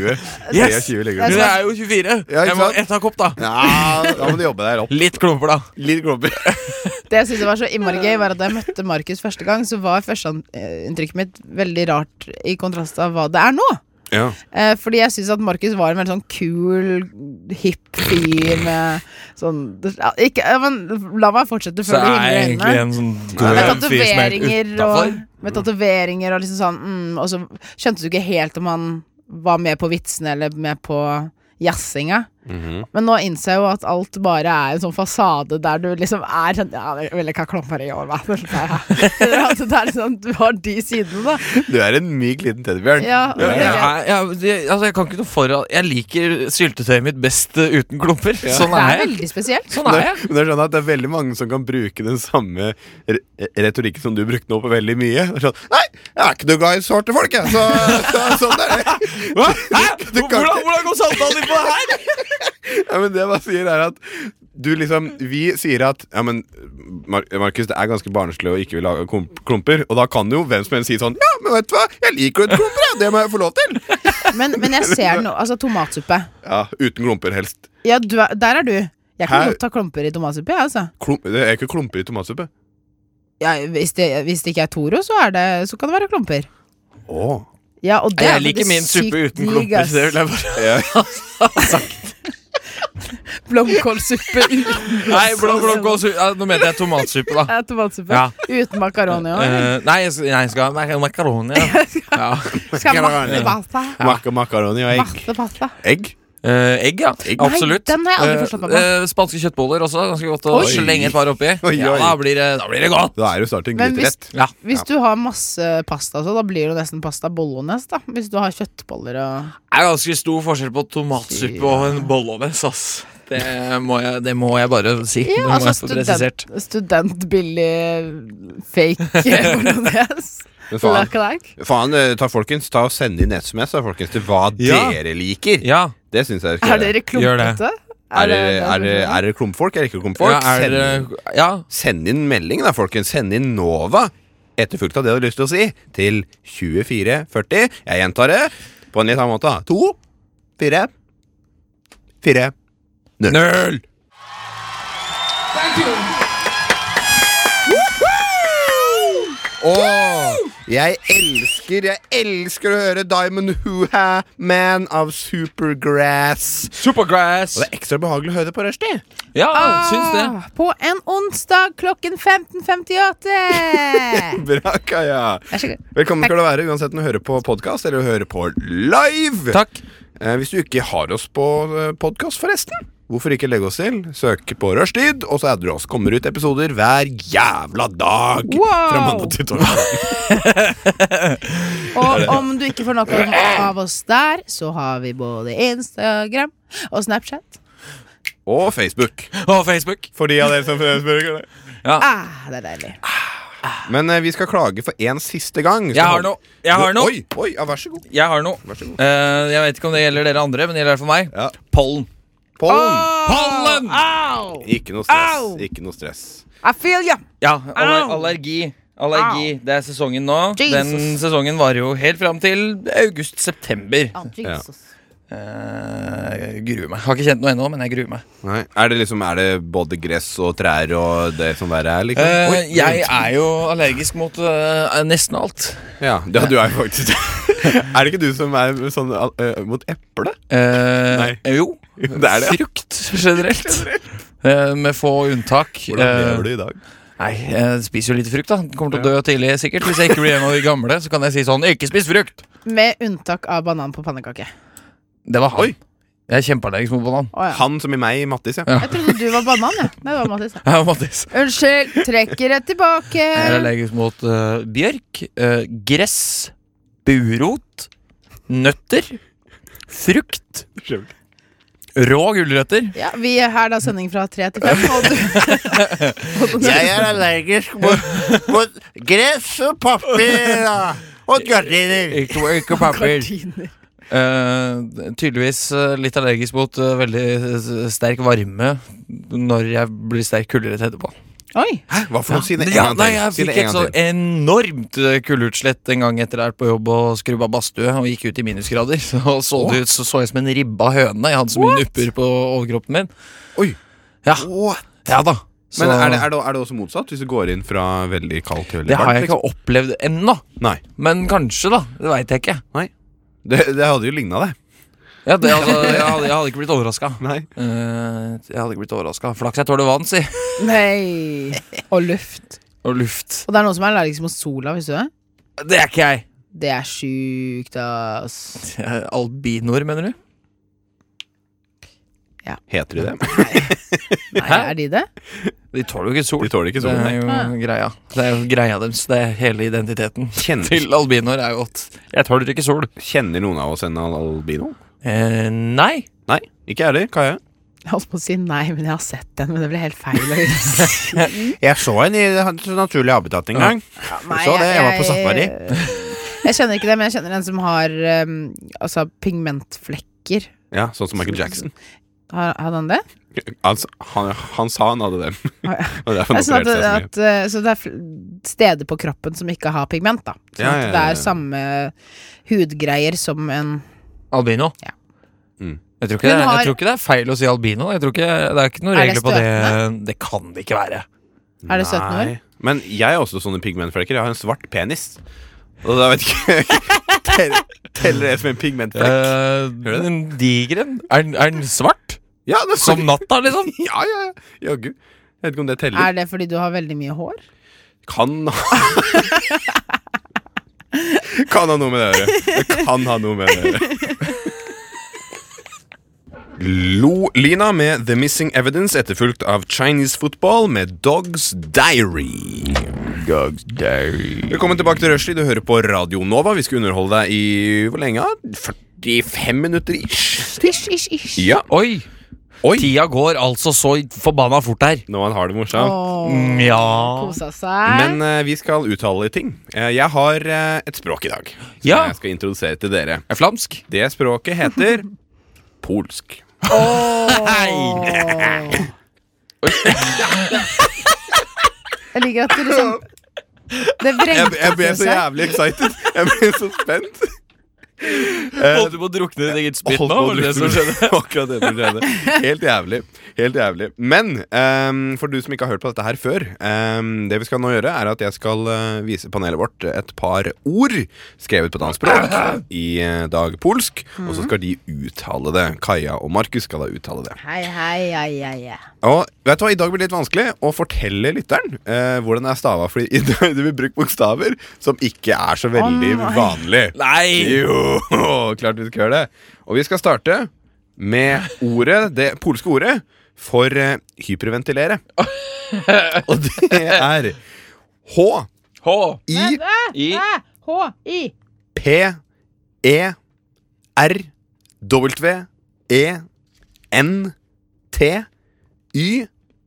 Speaker 2: 23 ligger
Speaker 1: Men jeg
Speaker 2: du på.
Speaker 1: er jo 24.
Speaker 2: Ja, ikke
Speaker 1: Jeg må
Speaker 2: sant?
Speaker 1: ett av kopp, da.
Speaker 2: Ja, da må du jobbe deg opp.
Speaker 1: Litt klumper, da.
Speaker 2: Litt (laughs) globber.
Speaker 3: Det jeg synes var så innmari gøy, var at da jeg møtte Markus første gang, så var førsteinntrykket mitt veldig rart i kontrast av hva det er nå.
Speaker 2: Ja.
Speaker 3: Eh, fordi jeg syns at Markus var en veldig sånn kul, hipp fyr med sånn ja, ikke, ja, men La meg fortsette
Speaker 1: Så
Speaker 3: før du
Speaker 1: jeg er
Speaker 3: hindrer
Speaker 1: egentlig
Speaker 3: øynene.
Speaker 1: en sånn
Speaker 3: Med
Speaker 1: grønn fyr som er
Speaker 3: tatoveringer og,
Speaker 1: utafor.
Speaker 3: med tatoveringer og liksom sånn mm, Og så skjønte du ikke helt om han var med på vitsene eller med på jazzinga.
Speaker 1: Mhm.
Speaker 3: Men nå innser jeg jo at alt bare er en sånn fasade der du liksom er sånn Ja, jeg vil ikke ha klumper i år, hva? (laughs) Det er liksom, du har de sidene, da.
Speaker 2: Du er en myk liten teddybjørn.
Speaker 3: Ja, og
Speaker 1: Ja,
Speaker 3: det-
Speaker 1: jeg, jeg, jeg- altså jeg kan ikke noe for Jeg liker syltetøyet mitt best eh, uten klumper. Sånn
Speaker 3: Det er
Speaker 1: er jeg.
Speaker 3: veldig spesielt.
Speaker 1: Sånn er jeg.
Speaker 2: Men det er sånn at det er veldig mange som kan bruke den samme re- retorikken som du brukte nå på veldig mye. Det er Sånn, Nei, jeg er ikke noe glad i svarte folk, jeg. Så, så, sånn er det.
Speaker 1: Hæ?
Speaker 2: Du kan
Speaker 1: Hvordan,
Speaker 2: ikke-
Speaker 1: hvordan kom samtalen din på det her?
Speaker 2: Ja, men det jeg bare sier, er at du liksom Vi sier at Ja, men Mar Markus, det er ganske barnslig å ikke ville lage klumper. Og da kan jo hvem som helst si sånn Ja, men vet du hva, jeg liker jo klumper, jeg. Det må jeg få lov til.
Speaker 3: Men, men jeg ser noe Altså, tomatsuppe.
Speaker 2: Ja, uten klumper, helst.
Speaker 3: Ja, du er, der er du. Jeg kan
Speaker 2: Hæ?
Speaker 3: godt ta klumper i tomatsuppe, jeg, altså.
Speaker 2: Klum det er ikke klumper i tomatsuppe.
Speaker 3: Ja, hvis, det, hvis det ikke er Toro, så, er det, så kan det være klumper.
Speaker 2: Åh.
Speaker 3: Ja, og det er
Speaker 1: Jeg
Speaker 3: veldig
Speaker 1: liker min
Speaker 3: sykt
Speaker 1: suppe uten
Speaker 3: digg,
Speaker 1: klumper.
Speaker 3: ass.
Speaker 1: Det vil jeg bare
Speaker 2: Ja. (laughs)
Speaker 3: Blomkålsuppe uten
Speaker 1: Nei, blå, blå, blå, su- ja, Nå mente jeg tomatsuppe, da.
Speaker 3: (laughs) Ja, tomatsuppe.
Speaker 1: (laughs) Ja.
Speaker 3: Uten makaroni òg.
Speaker 1: Eh, nei, jeg skal, jeg skal ha mak- makaroni. Ja. Ja.
Speaker 3: Skal
Speaker 2: skal
Speaker 3: masse
Speaker 2: være-
Speaker 3: pasta.
Speaker 2: Mak makaroni og egg.
Speaker 3: Masse pasta.
Speaker 2: Egg?
Speaker 1: Eh, egg, (laughs) ja. Absolutt.
Speaker 3: den har jeg aldri forstått meg på.
Speaker 1: Eh, eh, spanske kjøttboller også. Ganske godt å
Speaker 2: Oi.
Speaker 1: slenge et par oppi.
Speaker 2: Oi,
Speaker 1: Ja,
Speaker 2: oi.
Speaker 1: da, blir det, da blir det godt.
Speaker 2: Da er det jo snart en
Speaker 3: Men hvis-
Speaker 2: gryterett.
Speaker 1: Ja.
Speaker 3: Hvis du har masse pasta, så da blir det jo nesten pasta bolognese, da. Hvis du har kjøttboller og
Speaker 1: Det er ganske stor forskjell på tomatsuppe og en bollones, ass. Det må jeg, det må jeg bare si. det
Speaker 3: Ja,
Speaker 1: må
Speaker 3: altså
Speaker 1: jeg få presisert.
Speaker 3: student, studentbillig
Speaker 1: (laughs)
Speaker 3: fake bolognese.
Speaker 2: Men faen,
Speaker 3: Lookalike.
Speaker 2: faen eh, ta folkens, ta og send inn SMS da, folkens, til hva
Speaker 1: Ja.
Speaker 2: dere liker.
Speaker 1: Ja.
Speaker 2: Det syns jeg
Speaker 3: Er
Speaker 2: skal gjøre.
Speaker 3: dere klumpete?
Speaker 2: Er det, er, det, er det klumpfolk? Er det ikke klumpfolk?
Speaker 1: ja, er det,
Speaker 2: send,
Speaker 1: ja.
Speaker 2: send inn melding, da, folkens. Send inn Nova, etterfulgt av det du har lyst til å si, til 2440. Jeg gjentar det på en litt annen måte. da. To, fire, fire, null.
Speaker 1: Null!
Speaker 2: Åh, jeg elsker, jeg elsker å høre Diamond Hoo-ha Man av Supergrass.
Speaker 1: Supergrass!
Speaker 2: Og det er ekstra behagelig å høre det på rushtid.
Speaker 1: Ja, syns det.
Speaker 3: Ah, På en onsdag klokken
Speaker 1: (laughs)
Speaker 3: 15.58!
Speaker 2: (laughs) Bra, Kaja.
Speaker 3: Vær så god.
Speaker 2: Velkommen skal du være uansett om du hører på podkast eller hører på live.
Speaker 1: Takk.
Speaker 2: Eh, hvis du ikke har oss på podkast, forresten, hvorfor ikke legge oss til? Søk på Rushtid, og så adder du oss. Kommer ut episoder hver jævla dag
Speaker 3: Wow!
Speaker 2: fra mandag til torsdag.
Speaker 1: (laughs)
Speaker 3: Og om du ikke får nok av oss der, så har vi både Instagram og Snapchat.
Speaker 2: Og Facebook.
Speaker 1: Og Facebook.
Speaker 2: For de av dere
Speaker 1: (laughs)
Speaker 2: som spør.
Speaker 3: Ah, det er deilig.
Speaker 2: Men eh, vi skal klage for én siste gang. Så
Speaker 1: Jeg har
Speaker 2: hold-
Speaker 1: noe. Jeg har noe.
Speaker 2: Oi, oi, ja, vær så god.
Speaker 1: Jeg har noe.
Speaker 2: Vær så god.
Speaker 1: Eh, jeg vet ikke om det gjelder dere andre, men det gjelder i hvert fall meg.
Speaker 2: Ja.
Speaker 1: Pollen. Ah!
Speaker 2: Pollen.
Speaker 1: Pollen!
Speaker 2: Ikke noe stress.
Speaker 3: Au!
Speaker 2: Ikke noe stress.
Speaker 3: I feel ya!
Speaker 1: Ja, aller,
Speaker 3: Au!
Speaker 1: allergi. Allergi. Det er sesongen nå.
Speaker 3: Jesus.
Speaker 1: Den sesongen varer jo helt fram til august-september.
Speaker 3: Oh, Jesus.
Speaker 1: Eh, jeg gruer meg. Har ikke kjent noe ennå, men jeg gruer meg.
Speaker 2: Nei. Er det liksom Er det både gress og trær og det som verre er? Liksom?
Speaker 1: Eh,
Speaker 2: Oi.
Speaker 1: jeg er jo allergisk mot eh, nesten alt.
Speaker 2: Ja, ja, du er jo faktisk Er det (laughs) ikke du som er sånn eh, mot eple?
Speaker 1: Eh, jo.
Speaker 2: (laughs) Det er det, ja.
Speaker 1: Frukt generelt. Eh, med få unntak.
Speaker 2: Hvordan
Speaker 1: Eh,
Speaker 2: lever du i dag?
Speaker 1: Nei, jeg spiser jo litt frukt, da. Kommer til å dø tidlig, sikkert. Hvis jeg ikke blir en av de gamle, så kan jeg si sånn Ikke spis frukt!
Speaker 3: Med unntak av banan på pannekake.
Speaker 1: Det var han.
Speaker 2: Oi.
Speaker 1: Jeg er kjempeallergisk mot banan.
Speaker 3: Å, ja.
Speaker 2: Han som i meg, Mattis, ja.
Speaker 3: Jeg trodde du var banan, jeg. Nei, det var Mattis.
Speaker 1: Ja, Mattis.
Speaker 3: Unnskyld, trekker det
Speaker 1: Jeg er
Speaker 3: tilbake.
Speaker 1: allergisk mot eh, bjørk, eh, gress, eh, burot, nøtter, frukt, rå gulrøtter.
Speaker 3: Ja, vi har da sending fra tre til fem. Og du, og du
Speaker 7: Jeg er allergisk mot, mot gress og papir og- og gardiner.
Speaker 1: Ikke, ikke papir.
Speaker 3: gardiner.
Speaker 1: Eh, tydeligvis eh, litt allergisk mot eh, veldig eh, sterk varme når jeg blir sterk kulderett etterpå.
Speaker 3: Oi!
Speaker 2: Hæ? Eh, Hva for noe? Si det en
Speaker 1: Ja,
Speaker 2: gang
Speaker 1: nei,
Speaker 2: til.
Speaker 1: jeg
Speaker 2: Si det
Speaker 1: fikk
Speaker 2: en
Speaker 1: et sånn så
Speaker 2: gang til.
Speaker 1: enormt eh, kuldeutslett en gang etter der på jobb og skrubba badstue og gikk ut i minusgrader. (laughs) Så så, det ut, så, så jeg som en ribba høne. Jeg hadde så mye nupper på overkroppen min.
Speaker 2: Oi.
Speaker 1: Ja,
Speaker 2: What?
Speaker 1: ja da. Så,
Speaker 2: Men er det, er, det, er det også motsatt? Hvis du går inn fra veldig kaldt til veldig
Speaker 1: det har
Speaker 2: varmt?
Speaker 1: jeg ikke
Speaker 2: liksom?
Speaker 1: opplevd ennå.
Speaker 2: Nei.
Speaker 1: Men kanskje, da. Det veit jeg ikke.
Speaker 2: liksom? Det, det hadde jo ligna det.
Speaker 1: Ja, det, altså, jeg, hadde, jeg hadde ikke blitt overraska.
Speaker 2: Nei.
Speaker 1: jeg hadde ikke blitt overraska. Flaks jeg tåler vann, si.
Speaker 3: Nei. Og luft.
Speaker 1: Og luft.
Speaker 3: Og det er noen som er allergisk mot sola, visste du det?
Speaker 1: Det er ikke jeg.
Speaker 3: Det er sjukt, ass.
Speaker 1: Eh, Albinoer, mener du?
Speaker 2: Heter de det?
Speaker 3: Nei,
Speaker 1: Hæ?
Speaker 3: er de det?
Speaker 1: De tåler jo ikke sol.
Speaker 2: De tåler ikke sånn. solen.
Speaker 1: Det er
Speaker 2: nei.
Speaker 1: jo
Speaker 3: Nei.
Speaker 1: greia. Det er jo greia deres. Det er hele identiteten
Speaker 2: Kjenner,
Speaker 1: (laughs) til albinoer er jo at Jeg tåler ikke sol.
Speaker 2: kjenner noen av oss en al- albino?
Speaker 1: Eh, nei.
Speaker 2: Nei, ikke jeg heller. Kaja?
Speaker 3: Jeg holdt på å si nei, men jeg har sett den. Men det ble helt feil. å gjøre. (laughs)
Speaker 7: Jeg så en i hans naturlige habitat en gang.
Speaker 3: Nei,
Speaker 7: så det, jeg var på safari.
Speaker 3: (laughs) Jeg kjenner ikke det, men jeg kjenner en som har um, altså pigmentflekker.
Speaker 2: Ja, sånn som Michael Jackson.
Speaker 3: Har, hadde han det?
Speaker 2: Han, s- han, han sa han hadde dem.
Speaker 3: ja.
Speaker 2: (laughs) Og derfor
Speaker 3: Det er
Speaker 2: han
Speaker 3: sånn at,
Speaker 2: opererte seg så mye.
Speaker 3: at, uh, så det er fl- steder på kroppen som ikke har pigment, da.
Speaker 2: Ja,
Speaker 3: Sånn
Speaker 2: ja,
Speaker 3: at
Speaker 2: ja,
Speaker 3: det
Speaker 2: ja.
Speaker 3: er samme hudgreier som en
Speaker 1: Albino?
Speaker 3: Ja.
Speaker 2: Mm.
Speaker 1: Jeg, tror ikke
Speaker 3: Hun
Speaker 1: det, er-
Speaker 3: har-
Speaker 1: jeg tror ikke det er feil å si albino. Jeg tror ikke, det er ikke noen
Speaker 3: Er det
Speaker 1: regler på det. Det kan det ikke være.
Speaker 3: Er det 17 år?
Speaker 2: Nei. Men jeg har også sånne pigmentflekker. Jeg har en svart penis. Og da vet jeg ikke (laughs) Teller- Teller det som en pigmentflekk?
Speaker 1: Eh, den digre Er, den- er den svart?
Speaker 2: ja, det er så-
Speaker 1: Som natta,
Speaker 3: (laughs)
Speaker 1: liksom?
Speaker 2: Ja, ja, ja. Jaggu. Jeg vet ikke om det teller.
Speaker 3: Er det fordi du har veldig mye hår?
Speaker 2: Kan (laughs) Kan ha noe med det å gjøre. Det kan ha noe med det å gjøre. Lo Lina med The Missing Evidence, etterfulgt av Chinese Football med Dogs Diary. Dogs Diary Velkommen tilbake til Rushdie. Du hører på Radio Nova. Vi skal underholde deg i hvor lenge? da? 45 minutter ish.
Speaker 3: Ish, ish, ish.
Speaker 2: Ja.
Speaker 1: Oi!
Speaker 2: Oi.
Speaker 1: Tida går altså så forbanna fort her. Mm,
Speaker 2: Nå han har det morsomt.
Speaker 3: Åh,
Speaker 1: Ja.
Speaker 3: kosa seg.
Speaker 2: Men eh, vi skal uttale ting. Eh, jeg har eh, et språk i dag som
Speaker 1: Ja.
Speaker 2: jeg skal introdusere til dere.
Speaker 1: Er flamsk?
Speaker 2: Det språket
Speaker 1: (laughs)
Speaker 2: heter polsk.
Speaker 3: Åh. (laughs) Jeg liker at du
Speaker 2: (laughs)
Speaker 3: liksom Det
Speaker 2: Jeg,
Speaker 3: vrengte
Speaker 2: jeg ble så
Speaker 3: seg.
Speaker 2: jævlig excited. Jeg ble så spent.
Speaker 1: Holdt Eh, du på å drukne i ditt eget spytt nå? var det det
Speaker 2: (laughs)
Speaker 1: som skjedde?
Speaker 2: Akkurat det som skjedde. Helt jævlig. Helt jævlig. Men ehm, for du som ikke har hørt på dette her før, ehm, det vi skal nå gjøre, er at jeg skal eh, vise panelet vårt et par ord skrevet på et annet språk,
Speaker 1: (laughs)
Speaker 2: i eh, dag polsk, og
Speaker 1: Mm.
Speaker 2: så skal de uttale det. Kaja og Markus skal da uttale det.
Speaker 3: Hei, hei, hei, hei, hei.
Speaker 2: Og vet du hva, I dag blir det litt vanskelig å fortelle lytteren eh, hvordan det er stava. Fordi i dag det blir brukt bokstaver som ikke er så veldig
Speaker 3: nei.
Speaker 2: vanlig.
Speaker 1: Nei!
Speaker 2: Jo, klart vi skal gjøre det. Og vi skal starte med ordet, det polske ordet for eh,
Speaker 1: (laughs)
Speaker 2: hyperventilere. Og det er
Speaker 1: H. I.
Speaker 3: H-I.
Speaker 2: H-i-p-e-r-w-e-n-t-y-l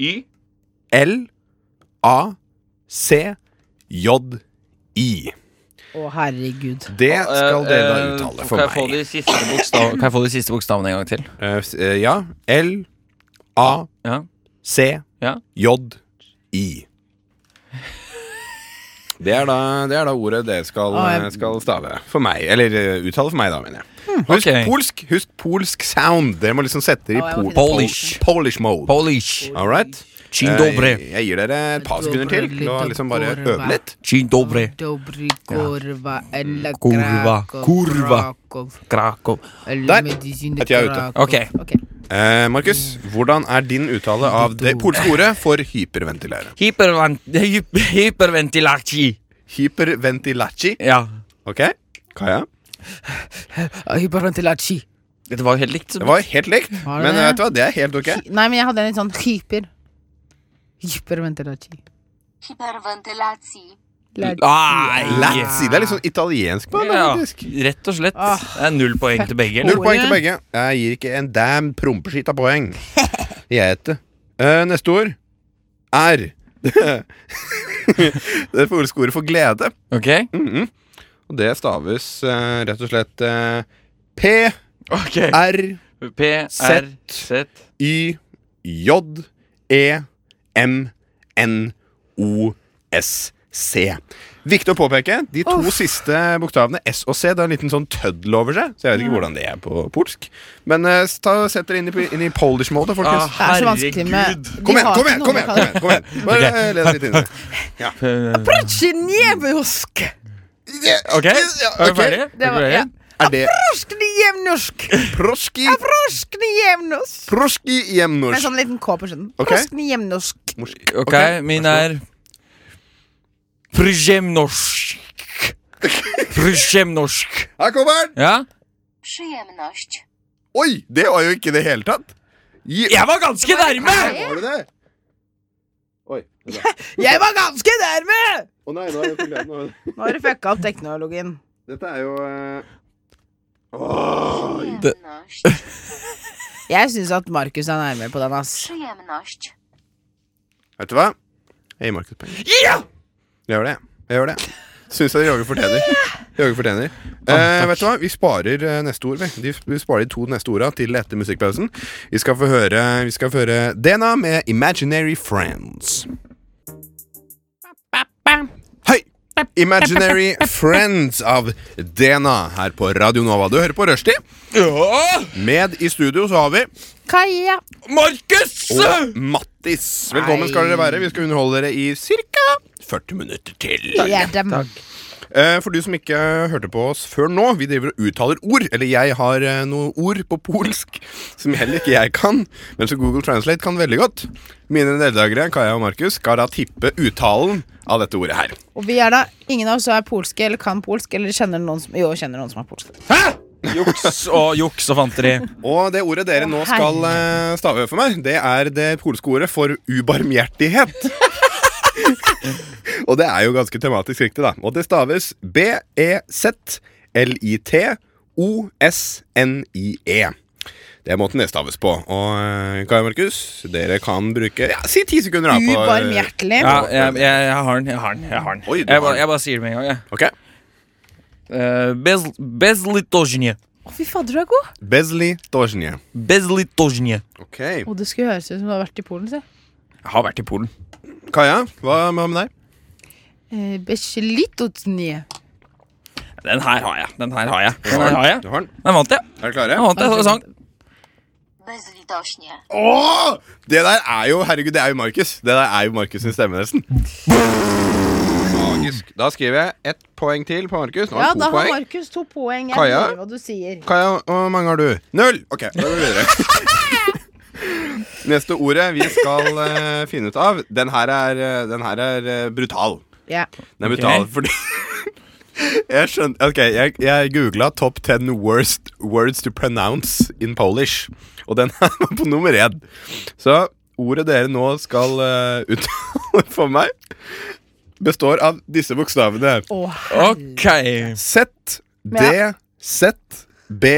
Speaker 1: I.
Speaker 2: L-A-C-J-I.
Speaker 3: Å, herregud.
Speaker 2: Det skal
Speaker 1: Eh,
Speaker 2: dere da
Speaker 1: eh,
Speaker 2: uttale
Speaker 1: kan
Speaker 2: for
Speaker 1: jeg få
Speaker 2: meg.
Speaker 1: de siste bokstav- Kan jeg få de siste bokstavene en gang til?
Speaker 2: Eh, s- eh, ja. L-A-C-J-I.
Speaker 1: Ja. Ja.
Speaker 2: Det er, da, det er da ordet dere skal,
Speaker 3: Ah, jeg-
Speaker 2: skal stave for meg. Eller eh, uttale for meg, da, mener jeg. Husk
Speaker 1: Hmm, ok.
Speaker 2: polsk husk polsk sound. Dere må liksom sette det i
Speaker 3: Ah, jeg
Speaker 2: pol
Speaker 3: må finne
Speaker 1: Polish.
Speaker 2: Polish mode.
Speaker 1: Polish.
Speaker 2: All right?
Speaker 1: Dzień
Speaker 2: Eh,
Speaker 1: dobry.
Speaker 2: Jeg gir dere et par sekunder til til å liksom bare øve litt.
Speaker 1: Dzień dobry.
Speaker 3: Dobry kurva eller
Speaker 1: Kurva,
Speaker 3: Krakow,
Speaker 1: kurva.
Speaker 3: Krakow,
Speaker 1: Krakow.
Speaker 3: eller
Speaker 2: Der.
Speaker 3: Medizin
Speaker 2: At jeg er ute.
Speaker 3: Krakow.
Speaker 1: Ok.
Speaker 3: Ok.
Speaker 2: Eh, Markus, hvordan er din uttale av det polske ordet for hyperventilere?
Speaker 1: Hypervan- hyp- Hyperventilaci.
Speaker 2: Hyperventilaci.
Speaker 1: Ja.
Speaker 2: Ok, Kaja?
Speaker 3: Hyperventilaci.
Speaker 1: Dette var jo helt likt.
Speaker 2: Det var helt likt,
Speaker 3: Var det
Speaker 2: men eh,
Speaker 3: det?
Speaker 2: vet du hva, det er helt ok.
Speaker 3: Hy- Nei, men jeg hadde en litt sånn hyper. Hyperventilaci. Lært-
Speaker 1: Nei!
Speaker 2: Lazzi. Det er litt sånn italiensk på det,
Speaker 1: Ja,
Speaker 2: faktisk.
Speaker 1: rett og slett.
Speaker 3: Åh,
Speaker 1: Det er null poeng til begge.
Speaker 2: Null
Speaker 1: Eller?
Speaker 2: poeng til begge. Jeg gir ikke en damn prompeskitt av
Speaker 3: (laughs)
Speaker 2: poeng. Jeg heter Eh, Neste ord er (laughs) Det polske ordet for glede.
Speaker 1: Ok?
Speaker 2: Mhm. Og det staves eh, rett og slett eh, P,
Speaker 1: Ok
Speaker 2: R,
Speaker 1: P, R, Z
Speaker 2: Y, J, E, M, N, O, S, C. Viktig å påpeke. De to siste bokstavene, S og C, det har en liten sånn tøddel over seg. Så jeg vet ikke hvordan det er på polsk. Men eh, ta, sett dere inn i, inn i polish-mode, folkens.
Speaker 3: Det er så vanskelig med
Speaker 1: Herregud.
Speaker 3: de
Speaker 2: Kom igjen,
Speaker 3: Ah. har
Speaker 2: kom
Speaker 3: ikke
Speaker 2: igjen!
Speaker 3: noe
Speaker 2: kom
Speaker 3: man
Speaker 2: igjen,
Speaker 3: kan-
Speaker 2: kom igjen, kom igjen. Bare eh, le deg litt inn i det.
Speaker 3: Prøtsje njevnorsk!
Speaker 1: Ok, er vi
Speaker 2: ok.
Speaker 1: ferdige?
Speaker 3: Det var- ja.
Speaker 2: Er det
Speaker 3: Proskni jevnorsk!
Speaker 2: proski,
Speaker 3: Proskni jevnorsk!
Speaker 2: proski
Speaker 3: Med en
Speaker 2: jemnorsk?
Speaker 3: sånn liten K på slutten.
Speaker 2: Ok.
Speaker 3: Proskni jevnorsk.
Speaker 1: Ok, min er Przyjemność Przyjemność
Speaker 2: Her kommer den!
Speaker 1: Ja?
Speaker 4: Przyjemność.
Speaker 2: Oi, det var jo ikke det hele tatt. Gi-
Speaker 1: Jeg var ganske nærme!
Speaker 2: Var det det? Oi. det var-
Speaker 3: Jeg var ganske nærme!
Speaker 2: Å nei, nå er det forklart. Nå er det-
Speaker 3: Nå har du fucka opp teknologien.
Speaker 2: Dette er jo eh,
Speaker 4: Przyjemność.
Speaker 3: Jeg syns at Markus er nærmere på den, ass.
Speaker 4: Przyjemność.
Speaker 2: Vet du hva? Jeg gir Markus penger. Jeg gjør det. Jeg gjør det. Syns jeg Jage fortjener. Jage fortjener. Eh, vet du hva? Vi sparer eh, neste ord, vi. De- Vi sparer de to neste orda til etter musikkpausen. Vi skal få høre, vi skal få høre Dena med 'Imaginary Friends'. Hei! Imaginary Friends av Dena her på Radio Nova. Du hører på Rushdie.
Speaker 1: Ja!
Speaker 2: Med i studio så har vi
Speaker 3: Kaja.
Speaker 1: Markus!
Speaker 2: og Mattis. Velkommen skal dere være. Vi skal underholde dere i ca. 40 minutter til.
Speaker 3: Ja, dem.
Speaker 2: Eh, For du som ikke hørte på oss før nå, vi driver og uttaler ord. Eller jeg har eh, noen ord på polsk som heller ikke jeg kan, men som Google Translate kan veldig godt. Mine deltakere, Kaja og Markus, skal da tippe uttalen av dette ordet her.
Speaker 3: Og vi er da Ingen av oss er polske eller kan polsk eller kjenner noen som, jo, kjenner noen som er polske.
Speaker 1: Juks og juks og fanteri.
Speaker 2: Og det ordet dere nå skal eh, stave for meg, det er det polske ordet for ubarmhjertighet. (laughs) og det er jo ganske tematisk riktig, da. Og det staves E B-E-Z-L-I-T-O-S-N-I-E. E. Det er måten det staves på. Og eh, Kai Markus, dere kan bruke Ja, si ti sekunder, da. på-
Speaker 3: Ubarmhjertelig.
Speaker 1: Ja, jeg, jeg, jeg har den. Jeg har den. Jeg, har den.
Speaker 2: Oi,
Speaker 1: jeg,
Speaker 2: du har
Speaker 1: bare,
Speaker 2: den.
Speaker 1: jeg bare sier det med en gang. jeg.
Speaker 2: Ok.
Speaker 1: Eh, Bez, bezlitozhnie.
Speaker 3: Å, Fy fader, du er god!
Speaker 2: Bezli Dozjnje.
Speaker 1: Bezlitozhnie.
Speaker 2: Ok.
Speaker 3: Å, det skulle høres ut som du har vært i Polen. Se.
Speaker 1: Jeg har vært i Polen.
Speaker 2: Kaja, hva hva med deg?
Speaker 3: Eh, Besjelitotnie.
Speaker 1: Den her har jeg. Den her har jeg. Den her har jeg.
Speaker 2: Du har den.
Speaker 1: Den vant jeg.
Speaker 2: Er dere klare?
Speaker 1: Den vant jeg, så sang.
Speaker 4: Bezlitośnie.
Speaker 2: Åh! Det der er jo Herregud, det er jo Markus. Det der er jo Markus sin stemme, nesten. Magisk. Da skriver jeg ett poeng til på Markus. Nå har
Speaker 3: Ja,
Speaker 2: han
Speaker 3: da
Speaker 2: to
Speaker 3: har
Speaker 2: poeng.
Speaker 3: Markus to poeng. Jeg
Speaker 2: Kaja?
Speaker 3: hører hva du sier.
Speaker 2: Kaja, hvor mange har du? Null! Ok, da går vi videre. (laughs) Neste ordet vi skal eh, finne ut av Den her er, eh, den her er eh, brutal.
Speaker 3: Ja.
Speaker 2: Den er brutal fordi (laughs) Jeg skjønte Ok, jeg, jeg googla 'Top 10 worst words to pronounce in Polish', og den her var på nummer én. Så ordet dere nå skal eh, uttale (laughs) for meg, består av disse bokstavene.
Speaker 3: Å,
Speaker 1: Ok.
Speaker 2: Z, D,
Speaker 3: Ja.
Speaker 2: Z, B,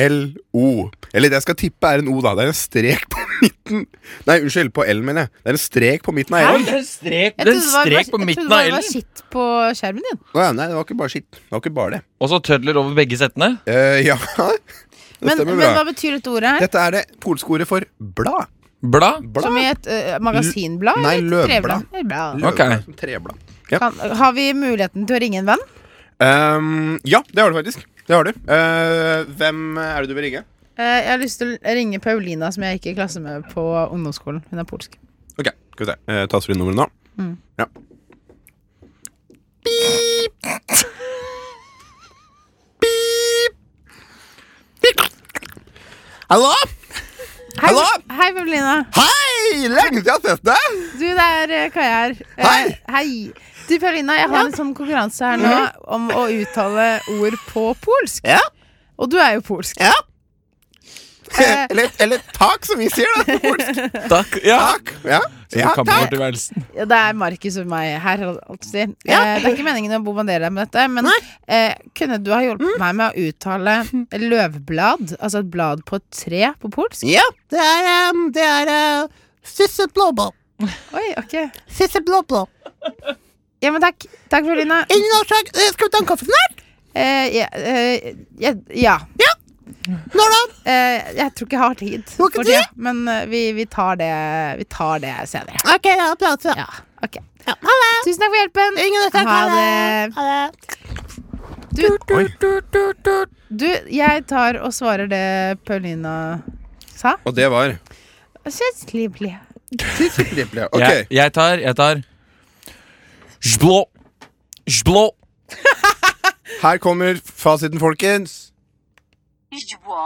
Speaker 2: L, O. Eller det jeg skal tippe, er en O, da. Det er en strek på (laughs) midten. Nei, unnskyld, på L, mener jeg. Det er en strek på midten av
Speaker 1: Oi,
Speaker 2: L.
Speaker 1: det er en strek,
Speaker 3: Jeg
Speaker 1: det er en
Speaker 3: trodde det var-
Speaker 1: strek på
Speaker 3: jeg
Speaker 1: midten
Speaker 3: trodde
Speaker 1: av
Speaker 3: det var
Speaker 1: L-en.
Speaker 3: skitt på skjermen din.
Speaker 2: Å ja, nei, det var ikke bare skitt. Det var ikke bare det.
Speaker 1: Og så tødler over begge settene.
Speaker 2: Eh, ja, (laughs) det
Speaker 3: Men,
Speaker 2: stemmer
Speaker 3: men
Speaker 2: bra.
Speaker 3: hva betyr dette ordet her?
Speaker 2: Dette er det polske ordet for blad.
Speaker 1: Blad.
Speaker 2: Blad?
Speaker 3: Som i et eh, magasinblad?
Speaker 2: Nei,
Speaker 3: eller et
Speaker 2: løvblad.
Speaker 3: treblad? Løvblad.
Speaker 2: Løveblad,
Speaker 1: Ok.
Speaker 2: som Treblad.
Speaker 3: Kan, har vi muligheten til å ringe en venn?
Speaker 2: Ehm, ja, det har du faktisk. Det har du. Eh, hvem er det du vil ringe?
Speaker 3: Eh, jeg har lyst til å ringe Paulina, som jeg gikk i klasse med på ungdomsskolen. Hun er polsk.
Speaker 2: Ok, skal vi se. Eh, Taster du nummeret nå?
Speaker 3: Mm.
Speaker 2: Ja.
Speaker 7: Hallo?
Speaker 3: Hei,
Speaker 7: Hallo?
Speaker 3: hei Paulina.
Speaker 7: Hei! Lenge siden jeg har sett deg!
Speaker 3: Du, det er eh, Kaja her. Eh,
Speaker 7: Hei.
Speaker 3: hei. Du, Paulina, jeg har en sånn konkurranse her nå om å uttale ord på polsk.
Speaker 7: Ja.
Speaker 3: Og du er jo polsk.
Speaker 2: (laughs)
Speaker 7: Ja.
Speaker 3: Eh,
Speaker 7: Eller, eller tak, som vi sier, da. på polsk.
Speaker 1: Takk. Ja.
Speaker 7: Tak. Ja.
Speaker 1: til
Speaker 2: Ja,
Speaker 1: kammertilværelsen.
Speaker 3: Ja, det er Markus og meg her. holdt jeg på å Si. Eh, det er ikke meningen å bombardere deg med dette, men eh, kunne du ha
Speaker 7: Mm.
Speaker 3: hjulpet meg med å uttale løvblad? Altså et blad på et tre på polsk?
Speaker 7: Ja, det er, um, det er uh, Sissel Blåblå.
Speaker 3: Oi, ok.
Speaker 7: Sissel Blåblå.
Speaker 3: Ja, men takk. Takk for Lina.
Speaker 7: Ingen årsak. Eh, Skal vi ta en kaffe snart?
Speaker 3: Eh, ja, eh, ja, ja.
Speaker 7: Når da?
Speaker 3: Eh, jeg tror ikke jeg har tid.
Speaker 7: har ikke
Speaker 3: for
Speaker 7: tid?
Speaker 3: det, Men eh, vi, vi, tar det, vi tar det senere.
Speaker 7: Ok, ja, plass, ja.
Speaker 3: Ja, ok.
Speaker 7: ja. Ha det.
Speaker 3: Tusen takk for hjelpen.
Speaker 7: Ingen årsak.
Speaker 3: Ha det.
Speaker 7: Ha det.
Speaker 3: Du, du, jeg tar og svarer det Paulina sa.
Speaker 2: Og det var
Speaker 3: Kjenslig.
Speaker 2: Ok.
Speaker 1: Jeg, jeg tar Jeg tar Zblå. Zblå.
Speaker 2: Her kommer fasiten, folkens.
Speaker 4: Źdźbło.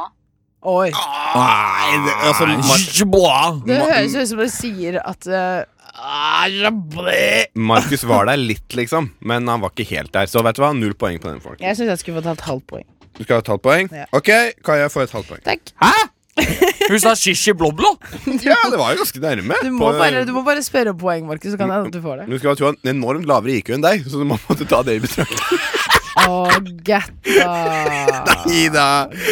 Speaker 3: Oi.
Speaker 1: Ah,
Speaker 2: Nei, det, altså, Mar
Speaker 1: Zblå.
Speaker 3: Det høres ut som du sier at eh, ah, rabble.
Speaker 2: Markus var der litt, liksom, men han var ikke helt der. Så vet du hva, null poeng på den. folk
Speaker 3: Jeg syns jeg skulle fått et halvt poeng.
Speaker 2: Du skal ha et halvt poeng?
Speaker 3: Ja.
Speaker 2: Ok, Kaja får et halvt
Speaker 3: (laughs)
Speaker 2: poeng.
Speaker 3: Takk.
Speaker 1: Hun sa shishi blå-blå.
Speaker 2: Ja, det var jo ganske nærme.
Speaker 3: Du må,
Speaker 2: på-
Speaker 3: bare, du må bare spørre om poeng, Markus, så kan jeg at du får det.
Speaker 2: Men du skal jo ha en enormt lavere IQ enn deg, så du må måtte ta det i
Speaker 3: (laughs)
Speaker 2: betraktning.
Speaker 3: Å, (laughs) getta.
Speaker 2: Nei da!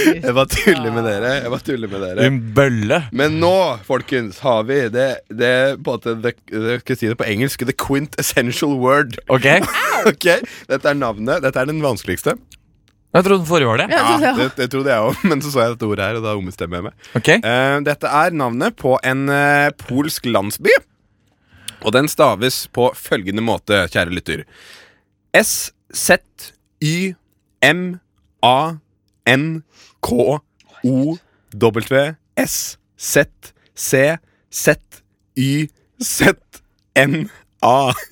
Speaker 2: Jeg bare tuller med dere. Jeg bare tuller med dere.
Speaker 1: En bølle.
Speaker 2: Men nå, folkens, har vi det, det på en måte, the, the, Skal jeg si det på engelsk? The quint essential word.
Speaker 1: Ok. Jeg
Speaker 2: Ok, Dette er navnet. Dette er den vanskeligste.
Speaker 1: trodde den forrige var det.
Speaker 2: Ja,
Speaker 3: Ja, det-
Speaker 2: det, det trodde jeg òg, (laughs) men så så jeg dette ordet her, og da ombestemmer jeg meg.
Speaker 1: Ok
Speaker 2: Eh, dette er navnet på en eh, polsk landsby. Og den staves på følgende måte, kjære lytter. S-Z-Y-M-A-N-K-O-W-S-Z-C-Z-Y-Z-N-A.
Speaker 3: (laughs)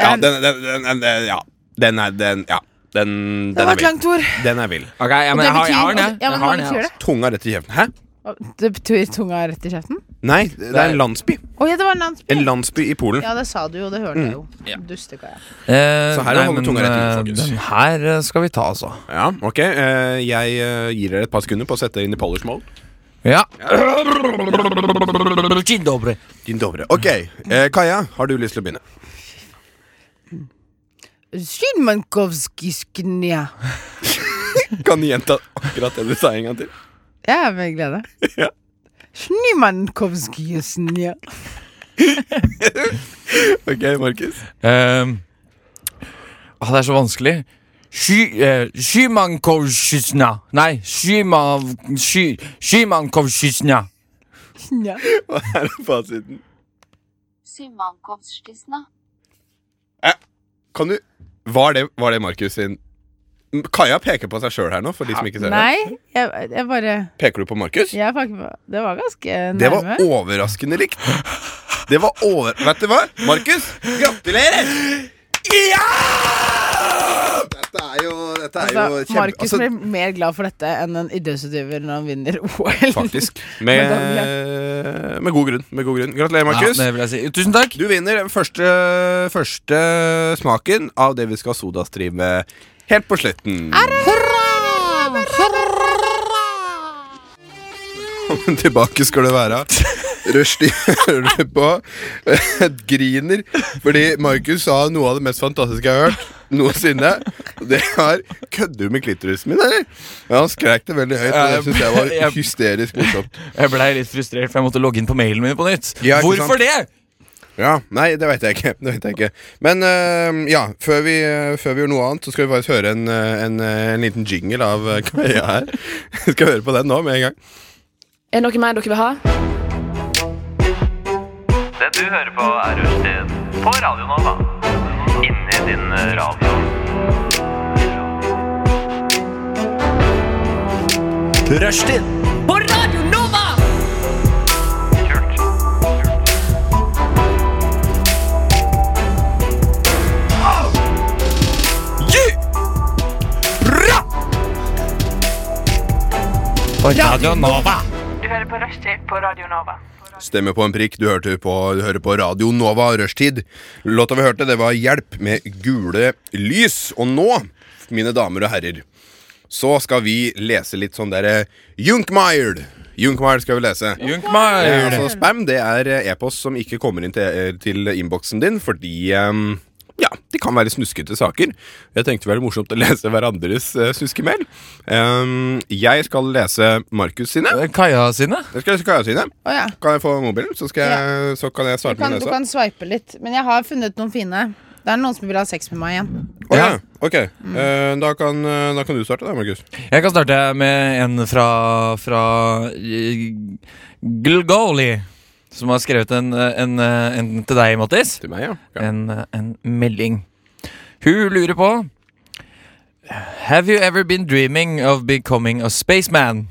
Speaker 2: Ja, den, den, den, den, den Ja. Den er den, Ja. Den,
Speaker 3: Det
Speaker 2: den
Speaker 3: var
Speaker 2: er
Speaker 3: et
Speaker 2: vill.
Speaker 3: langt ord.
Speaker 2: Den er vill.
Speaker 1: Ok, ja, men
Speaker 3: Det
Speaker 1: jeg har, jeg har den,
Speaker 3: betyr-
Speaker 1: jeg.
Speaker 3: Ja,
Speaker 1: Jeg
Speaker 3: men
Speaker 1: har
Speaker 3: hva
Speaker 1: den, jeg,
Speaker 3: betyr
Speaker 1: altså.
Speaker 3: det?
Speaker 2: Tunga rett i kjeften. Hæ?
Speaker 3: Det betyr tunga rett i kjeften?
Speaker 2: Nei, det er en landsby.
Speaker 3: Å ja, det var en landsby.
Speaker 2: En landsby i Polen.
Speaker 3: Ja, det sa du jo, det hørte jeg jo.
Speaker 2: Mm.
Speaker 1: Eh,
Speaker 3: Dustekaia.
Speaker 2: Så her
Speaker 1: nei,
Speaker 2: holder
Speaker 1: men,
Speaker 2: tunga rett ut,
Speaker 1: eh,
Speaker 2: folkens.
Speaker 1: Den her eh, skal vi ta, altså.
Speaker 2: Ja, ok. Eh, jeg eh, gir dere et par sekunder på å sette dere inn i polish mode.
Speaker 1: Ja. Dzień dobry.
Speaker 2: Din dovre. Ok, eh, Kaja, har du lyst til å begynne?
Speaker 3: Skymankovskijsknja.
Speaker 2: Kan du gjenta akkurat det du sa en gang til?
Speaker 3: Ja, med glede.
Speaker 2: (laughs) Ja.
Speaker 3: Snymankovskijsknja.
Speaker 2: Ok, Markus.
Speaker 1: Ehm, ah, det er så vanskelig. Sky- eh, Skymankovskysna. Nei, Skymav- Sky- Skymankovskysna.
Speaker 3: Nja.
Speaker 2: Hva er fasiten?
Speaker 4: Symankovszczyzna.
Speaker 2: Eh, Kan du Var det, var det Markus sin Kaja peker på seg sjøl her nå, for de som ikke ser det.
Speaker 3: Nei, jeg, jeg bare
Speaker 2: Peker du på Markus?
Speaker 3: jeg, fak- Det var ganske
Speaker 2: Det var
Speaker 3: nærme.
Speaker 2: overraskende likt. Det var over... Vet du hva? Markus, gratulerer! Ja! Dette er jo, dette er jo
Speaker 3: Altså,
Speaker 2: kjempe...
Speaker 3: Markus
Speaker 2: altså,
Speaker 3: blir mer glad for dette enn en idrettsutøver når han vinner OL.
Speaker 2: Faktisk.
Speaker 3: Men
Speaker 2: Med,
Speaker 3: da vil
Speaker 2: med, god grunn, med god grunn. Gratulerer,
Speaker 1: Ja,
Speaker 2: Markus.
Speaker 1: det vil jeg si. Tusen takk.
Speaker 2: du vinner den første, første smaken av det vi skal sodastreame helt på slutten. Velkommen tilbake skal du være. Rushdie hører du på. Griner fordi Markus sa noe av det mest fantastiske jeg har hørt noensinne. Det var Kødder du med klitorisen min, eller? Ja, han skrek det veldig høyt, og det syns jeg var hysterisk morsomt.
Speaker 1: Jeg blei litt frustrert, for jeg måtte logge inn på mailen min på nytt.
Speaker 2: Ja, ikke
Speaker 1: Hvorfor
Speaker 2: sant?
Speaker 1: det?
Speaker 2: Ja, Nei, det veit jeg ikke. Det vet jeg ikke. Men eh, ja, før vi, før vi gjør noe annet, så skal vi faktisk høre en, eh, en, eh, en liten jingle av eh, Kaja her. Vi skal høre på den nå med en gang.
Speaker 8: Er det noe mer dere vil ha?
Speaker 9: Det du hører på er Rushtid på Radio Nova. Inni din eh, radio.
Speaker 5: Rushtid
Speaker 9: Kult.
Speaker 1: På Radio Nova.
Speaker 10: Du hører på Rushtid på Radio Nova.
Speaker 2: Stemmer på en prikk. Du, hørte på, du hører på Radio Nova Rushtid. Låta vi hørte, det var Hjelp med gule lys. Og nå, mine damer og herrer, så skal vi lese litt sånn derre Junkmired. Junkmired skal vi lese.
Speaker 1: Junkmired.
Speaker 2: Ja, altså spam det er eh, e-post som ikke kommer inn til, eh, til innboksen din fordi eh, ja, det kan være snuskete saker. Jeg tenkte det var morsomt å lese hverandres eh, snuskemail. Eh, jeg skal lese Markus sine.
Speaker 1: Eh, Kaja sine?
Speaker 2: Jeg skal lese Kaja sine.
Speaker 3: Å ja.
Speaker 2: Kan jeg få mobilen, så, skal jeg, så kan jeg
Speaker 3: (laughs) Du
Speaker 2: starte
Speaker 3: kan,
Speaker 2: med å
Speaker 3: du
Speaker 2: lese?
Speaker 3: kan sveipe litt. Men jeg har funnet noen fine. Det er noen som vil ha sex med meg igjen.
Speaker 2: Å ja. Ok.
Speaker 3: Mm.
Speaker 2: Eh, da, kan, eh, da kan du starte, da, Markus.
Speaker 1: Jeg kan starte med en fra, fra eh, Glgoli, som har skrevet en, eh, en, eh, en til deg, Mattis.
Speaker 2: Til meg, ja.
Speaker 1: En, eh, en melding. Hun lurer på Have you ever been dreaming of becoming a spaceman?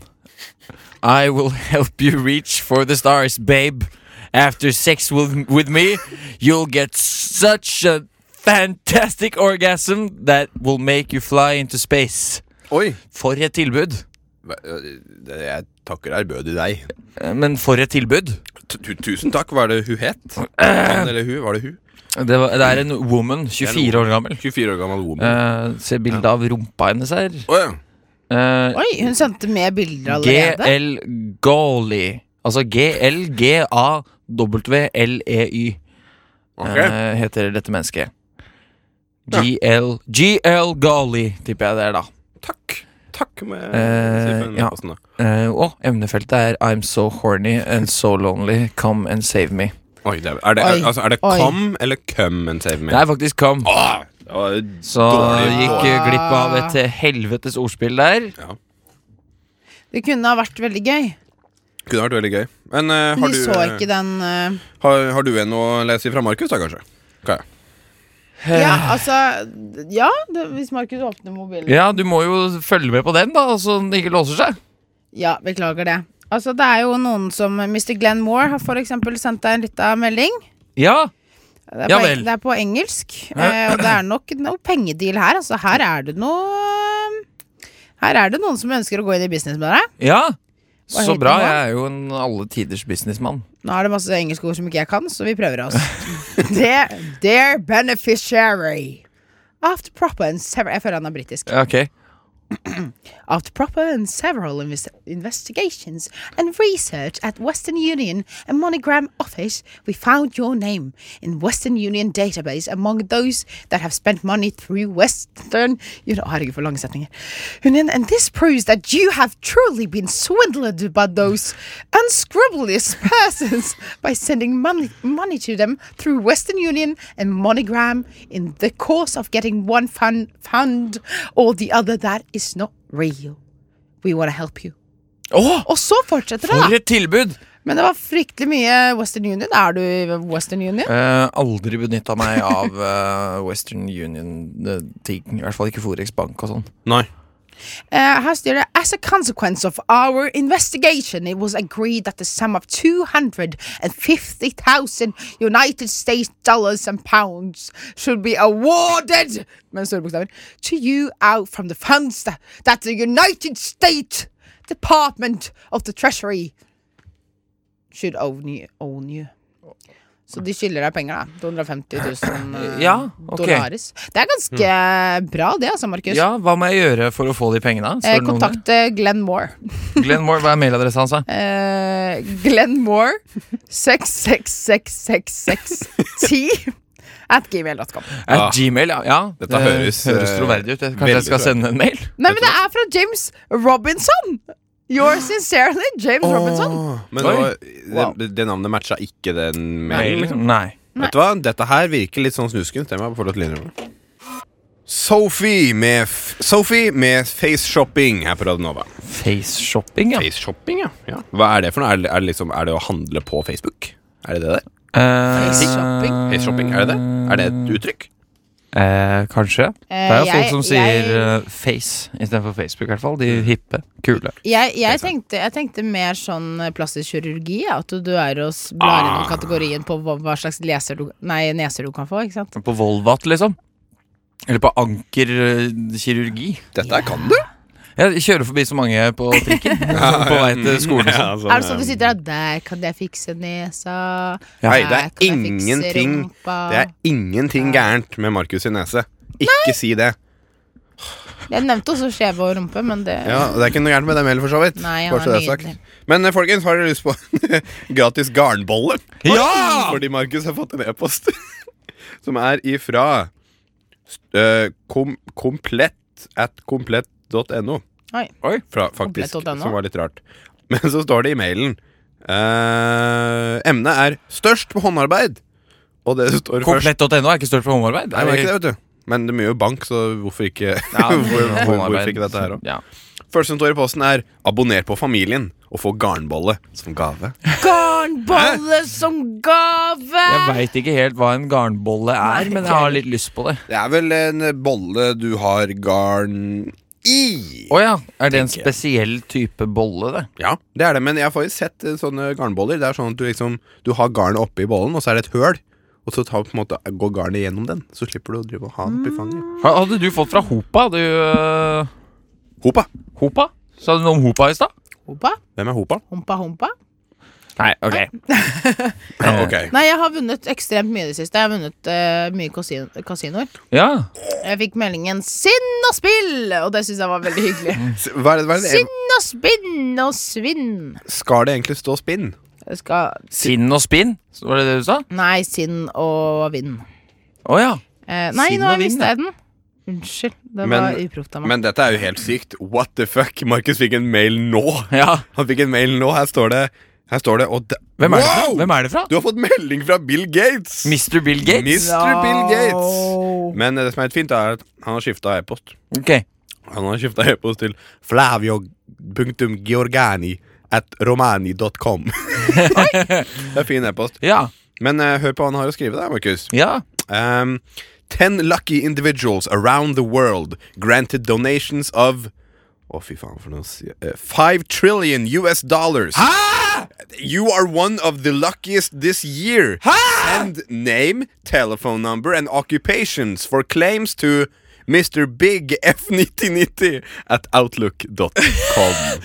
Speaker 1: I will help you reach for the stars, babe. After sex with, with me, you'll get such a fantastic orgasm that will make you fly into space.
Speaker 2: Oi. eh,
Speaker 1: For et tilbud.
Speaker 2: Jeg takker ærbødig deg.
Speaker 1: Eh, Men for et tilbud.
Speaker 2: Tu- Tusen takk. Hva er det hun het? Han eller hun? Var det hun?
Speaker 1: Det, var, det er en woman, 24 år gammel.
Speaker 2: 24 år gammel woman.
Speaker 1: Eh, ser bilde av rumpa hennes her.
Speaker 2: Å ja. E
Speaker 1: Eh,
Speaker 3: Oi, hun sendte med bilder allerede.
Speaker 1: GL Goli. Altså G-L-G-A-W-L-E-Y
Speaker 2: Ok.
Speaker 1: E eh, heter dette mennesket. GL GL Goli, tipper jeg det er, da.
Speaker 2: Takk. Takk, må jeg si
Speaker 1: Eh,
Speaker 2: for den
Speaker 1: ja.
Speaker 2: posten, da.
Speaker 1: Eh, og emnefeltet er I'm so horny and so lonely. Come and save me.
Speaker 2: Oi, det er, er det,
Speaker 3: Oi.
Speaker 2: altså, er det
Speaker 3: Oi.
Speaker 2: come eller come and save me?
Speaker 1: Det er faktisk come.
Speaker 2: Åh, det var
Speaker 1: Så
Speaker 2: dårlig.
Speaker 1: gikk eh, glipp av et eh, helvetes ordspill der.
Speaker 3: Det kunne ha vært veldig gøy.
Speaker 2: kunne vært veldig gøy. Men eh,
Speaker 3: Men
Speaker 2: har,
Speaker 3: de
Speaker 2: du,
Speaker 3: så
Speaker 2: eh,
Speaker 3: ikke den eh,
Speaker 2: har, har du en å lese fra Markus, da, kanskje? Kaja.
Speaker 3: Ja, altså Ja, det, hvis Markus åpner mobilen.
Speaker 1: Eh. Ja, du må jo følge med på den, da, så den ikke låser seg.
Speaker 3: Ja, beklager det. Altså, det er jo noen som Mr. Glenn Moore har for eksempel sendt deg en lita melding.
Speaker 1: Ja,
Speaker 3: Det er,
Speaker 1: Ja
Speaker 3: på,
Speaker 1: vel.
Speaker 3: det er på engelsk, eh, og det er nok noe pengedeal her. Altså, her er det noe Her er det noen som ønsker å gå inn i business med deg.
Speaker 1: ja.
Speaker 3: Hva
Speaker 1: Så
Speaker 3: heter
Speaker 1: bra.
Speaker 3: den da?
Speaker 1: Jeg er jo en alle tiders businessmann.
Speaker 3: Nå er det masse engelske ord som ikke jeg kan, så vi prøver
Speaker 1: (laughs)
Speaker 3: oss. Det- Their beneficiary. After proper and several Jeg føler han er britisk.
Speaker 1: Ja, Ok.
Speaker 3: After proper and several inves- investigations and research at Western Union and Monogram Office, we found your name in Western Union database among those that have spent money through Western Union. Å, herregud, for lange setninger. Union, and this proves that you have truly been swindled by those unscrupulous (laughs) persons by sending money, money to them through Western Union and Monogram in the course of getting one fund, fund or the other that is not real. We want to help you.
Speaker 1: Åh,
Speaker 3: Og så fortsetter det,
Speaker 1: for
Speaker 3: da.
Speaker 1: et tilbud!
Speaker 3: Men det var fryktelig mye Western Union. Er du i Western Union?
Speaker 1: Eh, aldri benytta meg av (laughs) eh, Western Union-ting. I hvert fall ikke Forex Bank og sånn.
Speaker 2: Nei.
Speaker 3: Uh, her står det As a consequence of our investigation, it was agreed that the sum of 250,000 United States dollars and pounds should be awarded med store bokstaver, to you out from the funds that, that the United States Department of the Treasury should own you. Own you. Så de skylder deg penger,
Speaker 1: (clears throat)
Speaker 3: da. 250 000 eh,
Speaker 1: Ja, ok. Hmm.
Speaker 3: dollaris. Det er ganske bra, det, altså, Markus.
Speaker 1: Ja, hva må jeg gjøre for å få de pengene? Står det noe
Speaker 3: Eh,
Speaker 1: om det?
Speaker 3: kontakte Glenn Moore.
Speaker 1: (laughs) Glenn Moore, hva er mailadressa hans? da?
Speaker 3: Eh, Glenn Moore 66666610 at gmail.com.
Speaker 1: At Gmail, ja. ja.
Speaker 2: Dette
Speaker 1: det
Speaker 2: høres,
Speaker 1: høres
Speaker 2: eh,
Speaker 1: troverdig ut. Kanskje
Speaker 2: veldig
Speaker 1: jeg skal
Speaker 2: troverdig.
Speaker 1: sende en mail?
Speaker 3: Nei, men det er fra James Robinson! Yours sincerely, James Robinson.
Speaker 2: Men det,
Speaker 1: Oi.
Speaker 2: var, det, det navnet matcha ikke den mailen. liksom.
Speaker 1: Nei.
Speaker 2: Vet du hva? Dette her virker litt sånn snuskent. Det må jeg få lov til å innrømme. Sophie med, f Sophie med face-shopping her på Radionova.
Speaker 1: Face-shopping, ja.
Speaker 2: Face-shopping, ja. ja. Hva er det for noe? Er det, er det liksom, er det å handle på Facebook? Er det det der?
Speaker 3: Face-shopping?
Speaker 2: Face-shopping, er det det? Er det et uttrykk?
Speaker 1: Eh, kanskje.
Speaker 3: Eh,
Speaker 1: det er jo
Speaker 3: jeg-
Speaker 1: folk som sier
Speaker 3: jeg-
Speaker 1: eh, face istedenfor Facebook, i hvert fall. De hippe, kule.
Speaker 3: Jeg, jeg, tenkte, jeg tenkte mer sånn eh, plastisk kirurgi. ja, At du, du er og s- blar
Speaker 1: Ah.
Speaker 3: gjennom kategorien på hva, hva slags leser du, nei, neser du kan få. Ikke sant?
Speaker 1: På Volvat, liksom. Eller på ankerkirurgi.
Speaker 2: Dette her kan du!
Speaker 1: Jeg kjører forbi så mange på (laughs) trikken på vei til skolen. og sånn.
Speaker 3: Er det sånn du sitter der Der kan jeg fikse nesa.
Speaker 1: Ja.
Speaker 2: Hei, det
Speaker 3: der
Speaker 2: er
Speaker 3: kan jeg fikse
Speaker 2: ingenting
Speaker 3: rumpa.
Speaker 2: Det er ingenting gærent med Markus sin nese. Ikke si det.
Speaker 3: Jeg nevnte også skjeve og rumpe, men det
Speaker 2: Ja, og Det er ikke noe gærent med dem heller, for så vidt.
Speaker 3: Nei, han
Speaker 2: Bare så
Speaker 3: er
Speaker 2: det er sagt.
Speaker 3: nydelig.
Speaker 2: Men eh, folkens, har dere lyst på en (laughs) gratis garnbolle? Ja! Fordi Markus har fått en e-post (laughs) som er ifra eh, kom, komplett at komplett.no.
Speaker 3: Oi.
Speaker 2: Fra, faktisk,
Speaker 3: Komplett.no?
Speaker 2: som var litt rart. (laughs) Men så står det i mailen eh, Emnet er 'størst på håndarbeid'. Og det står først
Speaker 1: Komplett.no er ikke størst på håndarbeid.
Speaker 2: Nei, det er ikke det, vet du. Men det er mye bank, så hvorfor ikke, (laughs) hvor, hvor, hvorfor ikke dette her òg?
Speaker 1: Ja.
Speaker 2: Første som står i posten, er 'abonner på Familien' og få garnbolle som gave.
Speaker 3: Garnbolle som gave!
Speaker 1: Jeg veit ikke helt hva en garnbolle er, men jeg har litt lyst på det.
Speaker 2: Det er vel en bolle du har garn i.
Speaker 1: Å ja. Er det en spesiell type bolle, det?
Speaker 2: Ja, det er det, men jeg har faktisk sett eh, sånne garnboller. Det er sånn at Du liksom Du har garnet oppi bollen, og så er det et høl. Og så tar, på en måte, går garnet gjennom den. Så slipper du å drive og ha den oppi fanget.
Speaker 1: Ha- Hadde du fått fra Hopa? Du, øh,
Speaker 2: Hopa.
Speaker 1: Hopa? Sa du noe om Hopa i stad?
Speaker 3: Humpa,
Speaker 2: Hvem er Hopa?
Speaker 3: humpa, humpa.
Speaker 1: Nei, ok.
Speaker 2: Ja, ok.
Speaker 3: Nei, jeg har vunnet ekstremt mye i det siste. Jeg har vunnet eh, mye kasin kasinoer.
Speaker 1: Ja.
Speaker 3: Jeg fikk meldingen 'Sinn og spill', og det syns jeg var veldig hyggelig.
Speaker 2: S- Hva er (laughs) det, hva er det?
Speaker 3: Sinn og spinn og svinn.
Speaker 2: Skal det egentlig stå spinn?
Speaker 3: Jeg skal
Speaker 1: Sinn og spinn, var det det du sa?
Speaker 3: Nei, sinn og vind.
Speaker 1: Å ja.
Speaker 3: Eh, nei,
Speaker 1: Sinn
Speaker 3: nå
Speaker 1: og vind,
Speaker 3: mista jeg den. Unnskyld. Det
Speaker 2: Men-
Speaker 3: var uproft av meg.
Speaker 2: Men dette er jo helt sykt. What the fuck? Markus fikk en mail nå.
Speaker 1: ja.
Speaker 2: Han fikk en mail nå. Her står det. Her står det, og det
Speaker 1: Hvem er, det fra?
Speaker 2: Wow!
Speaker 1: Hvem er det fra?
Speaker 2: Du har fått melding fra Bill Gates!
Speaker 1: Mr. Bill Gates?
Speaker 2: Mr. Bill Gates.
Speaker 3: Wow.
Speaker 2: Men eh, det som er helt fint, er at han har skifta e-post.
Speaker 1: Ok.
Speaker 2: Han har skifta e-post til flavio.georgani at romani.com. (laughs) det er fin e-post.
Speaker 1: Ja.
Speaker 2: Men eh, hør på hva han har å skrive der, Markus.
Speaker 1: Ja.
Speaker 2: Um, Ten lucky individuals around the world granted donations of Å, fy faen, for noe å si eh, Five trillion US dollars. You are one of the luckiest this year. Send name, telephone number and occupations for claims to Mr. Big F9090 at outlook.com.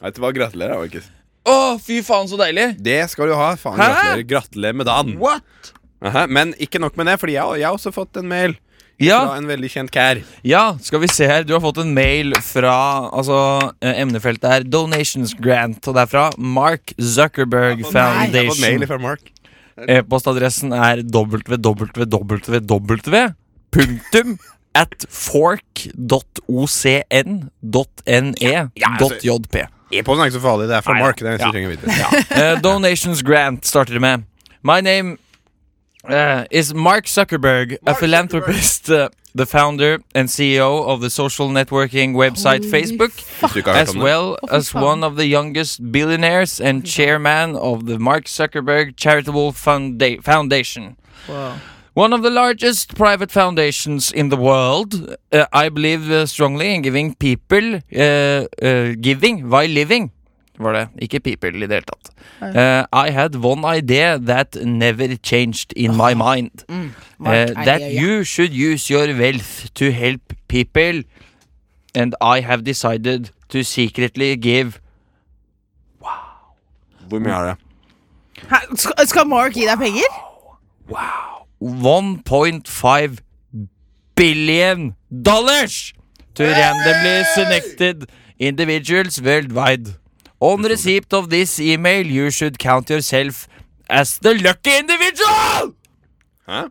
Speaker 2: Vet du hva? Gratulerer, Markus.
Speaker 1: Å, fy faen, så deilig!
Speaker 2: Det skal du ha. Faen,
Speaker 1: Hæ?
Speaker 2: gratulerer. Gratulerer med dagen.
Speaker 1: What?
Speaker 2: Aha, men ikke nok med det, Fordi jeg, jeg har også fått en mail fra
Speaker 1: Ja,
Speaker 2: en veldig kjent kær.
Speaker 1: ja, skal vi se her. Du har fått en mail fra altså, eh, Emnefeltet er Donations Grant, og det er fra Mark Zuckerberg
Speaker 2: Jeg har fått mail
Speaker 1: Foundation.
Speaker 2: fra Mark.
Speaker 1: E-postadressen er www. Punktum at e fork.ocn.ne.jp.
Speaker 2: E-posten er ikke så farlig. Det er fra Mark. Det er eneste du trenger å vite.
Speaker 1: Eh, Donations Grant starter det med. My name eh, is Mark Zuckerberg, a philanthropist, eh, the founder and CEO of the social networking website Facebook,
Speaker 2: Hvis du ikke har hørt
Speaker 1: as
Speaker 2: om det.
Speaker 1: well as one of the youngest billionaires and chairman of the Mark Zuckerberg Charitable Founda- Foundation.
Speaker 3: Wow.
Speaker 1: One of the largest private foundations in the world. Uh, I believe uh, strongly in giving people uh, uh, Giving by living. Var det. Ikke people i det hele tatt. Uh, I had one idea that never changed in my mind. Uh,
Speaker 3: Mark, I
Speaker 1: that
Speaker 3: hear ya.
Speaker 1: you should use your wealth to help people. And I have decided to secretly give
Speaker 2: Hvor mye er det?
Speaker 3: Hæ, skal, skal Mark gi deg penger?
Speaker 1: 1.5 billion dollars to randomly selected individuals worldwide. On receipt of this email, you should count yourself as the lucky individual!
Speaker 2: Hæ?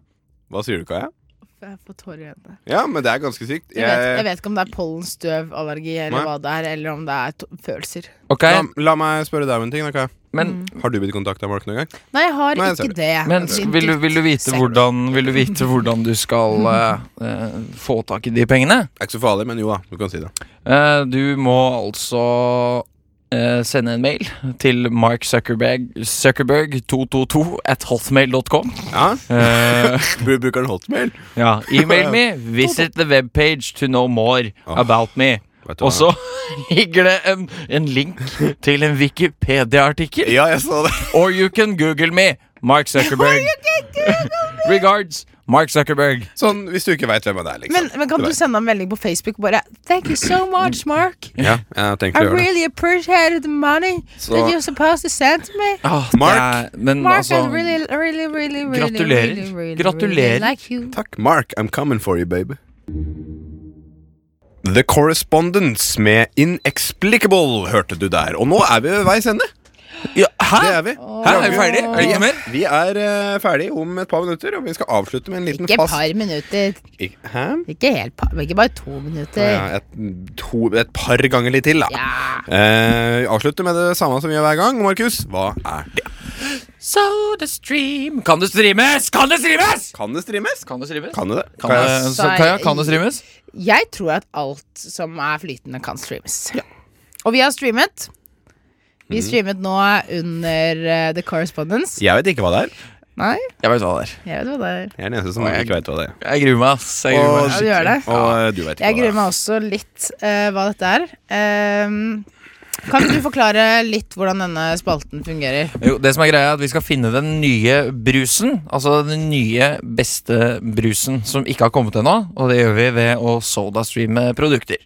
Speaker 2: Hva sier du, Kaja?
Speaker 3: Jeg får tårer i øynene.
Speaker 2: Ja, men det er ganske sykt.
Speaker 3: Jeg vet, jeg
Speaker 2: Jeg-
Speaker 3: vet ikke om det er pollenstøvallergi eller
Speaker 2: Nei.
Speaker 3: hva det er, eller om det er to følelser. Mm.
Speaker 1: Ok,
Speaker 2: La, la meg spørre deg om en ting. da, Kaja.
Speaker 1: men,
Speaker 2: Har du blitt kontakta av Mark noen gang?
Speaker 3: Nei, jeg har
Speaker 2: Nei,
Speaker 3: ikke
Speaker 2: sorry.
Speaker 3: det.
Speaker 1: men
Speaker 3: Din
Speaker 1: vil, du, vil, du vite
Speaker 3: drittsekk.
Speaker 1: hvordan, vil du vite hvordan du
Speaker 2: (laughs)
Speaker 1: skal eh, eh, få tak i de pengene?
Speaker 2: Det er ikke så farlig, men jo da. Du kan si det.
Speaker 1: Eh, du må altså eh, sende en mail til Mark Zuckerberg, Zuckerberg222 at hotmail.com. (laughs)
Speaker 2: Ja?
Speaker 1: Eh,
Speaker 2: Bru- Bruker han hotmail?
Speaker 1: ja, email
Speaker 2: (laughs)
Speaker 1: me, visit the webpage to know more about me.
Speaker 2: Ah. Vet du hva?
Speaker 1: Og så (laughs) ligger det en, en link til en Wikipedia-artikkel.
Speaker 2: Ja, jeg så det. (laughs)
Speaker 1: Or you can google me, Mark Zuckerberg. Regards, Mark Zuckerberg.
Speaker 2: Sånn hvis du ikke veit hvem det er, liksom.
Speaker 3: Men, men kan
Speaker 2: Det
Speaker 3: du
Speaker 2: vet.
Speaker 3: sende en melding på Facebook og bare Thank you so much, Mark.
Speaker 2: Ja, jeg tenkte
Speaker 3: I
Speaker 2: å gjøre det.
Speaker 3: really appreciated the money that you're supposed to send to me.
Speaker 1: Ah,
Speaker 2: Mark.
Speaker 1: det er- men
Speaker 3: Mark,
Speaker 1: altså,
Speaker 3: I really, really, really, really,
Speaker 1: Gratulerer.
Speaker 3: really, really, really
Speaker 1: Gratulerer.
Speaker 3: like you.
Speaker 2: Takk, Mark. I'm coming for you, baby. The Correspondence med Inexplicable hørte du der. Og nå er vi ved veis ende.
Speaker 1: hæ?
Speaker 2: Det er vi.
Speaker 1: Hæ, er vi ferdig? Er det ikke mer?
Speaker 2: Vi er eh, ferdig om et par minutter, og vi skal avslutte med en liten
Speaker 3: Ikke et
Speaker 2: fast
Speaker 3: par minutter.
Speaker 2: Ik- Hæ?
Speaker 3: Ikke, helt par, ikke bare to
Speaker 2: Ja,
Speaker 3: minutter.
Speaker 2: et, to, et par ganger litt til, da.
Speaker 3: Ja.
Speaker 2: Eh, vi avslutter med det samme som vi gjør hver gang. Markus, hva er det?
Speaker 1: Sodastream. Kan det streames? Kan det streames?
Speaker 2: Kan det streames?
Speaker 1: Kan det streames?
Speaker 2: Kan det det?
Speaker 1: Kan
Speaker 2: Kan
Speaker 1: det,
Speaker 2: jeg-
Speaker 1: så, Kaja, kan det streames?
Speaker 3: Jeg tror at alt som er flytende, kan streames. Og vi har streamet. Vi
Speaker 2: Mhm.
Speaker 3: streamet nå under eh, The Correspondence.
Speaker 2: Jeg vet ikke hva det er.
Speaker 3: Nei,
Speaker 1: Jeg vet hva det er.
Speaker 3: jeg vet hva det er.
Speaker 2: Jeg er den eneste som
Speaker 1: Å, jeg-
Speaker 2: ikke vet hva det er.
Speaker 1: Jeg gruer meg. ass. Jeg gruer meg.
Speaker 3: Ja, du gjør det.
Speaker 2: Og eh, du vet ikke
Speaker 3: Jeg gruer
Speaker 2: hva det
Speaker 3: meg også litt eh, hva dette er. Ehm, kan du forklare litt hvordan denne spalten fungerer?
Speaker 1: Jo, det som er greia er at Vi skal finne den nye brusen, altså den nye beste brusen som ikke har kommet ennå. Og det gjør vi ved å sodastreame produkter.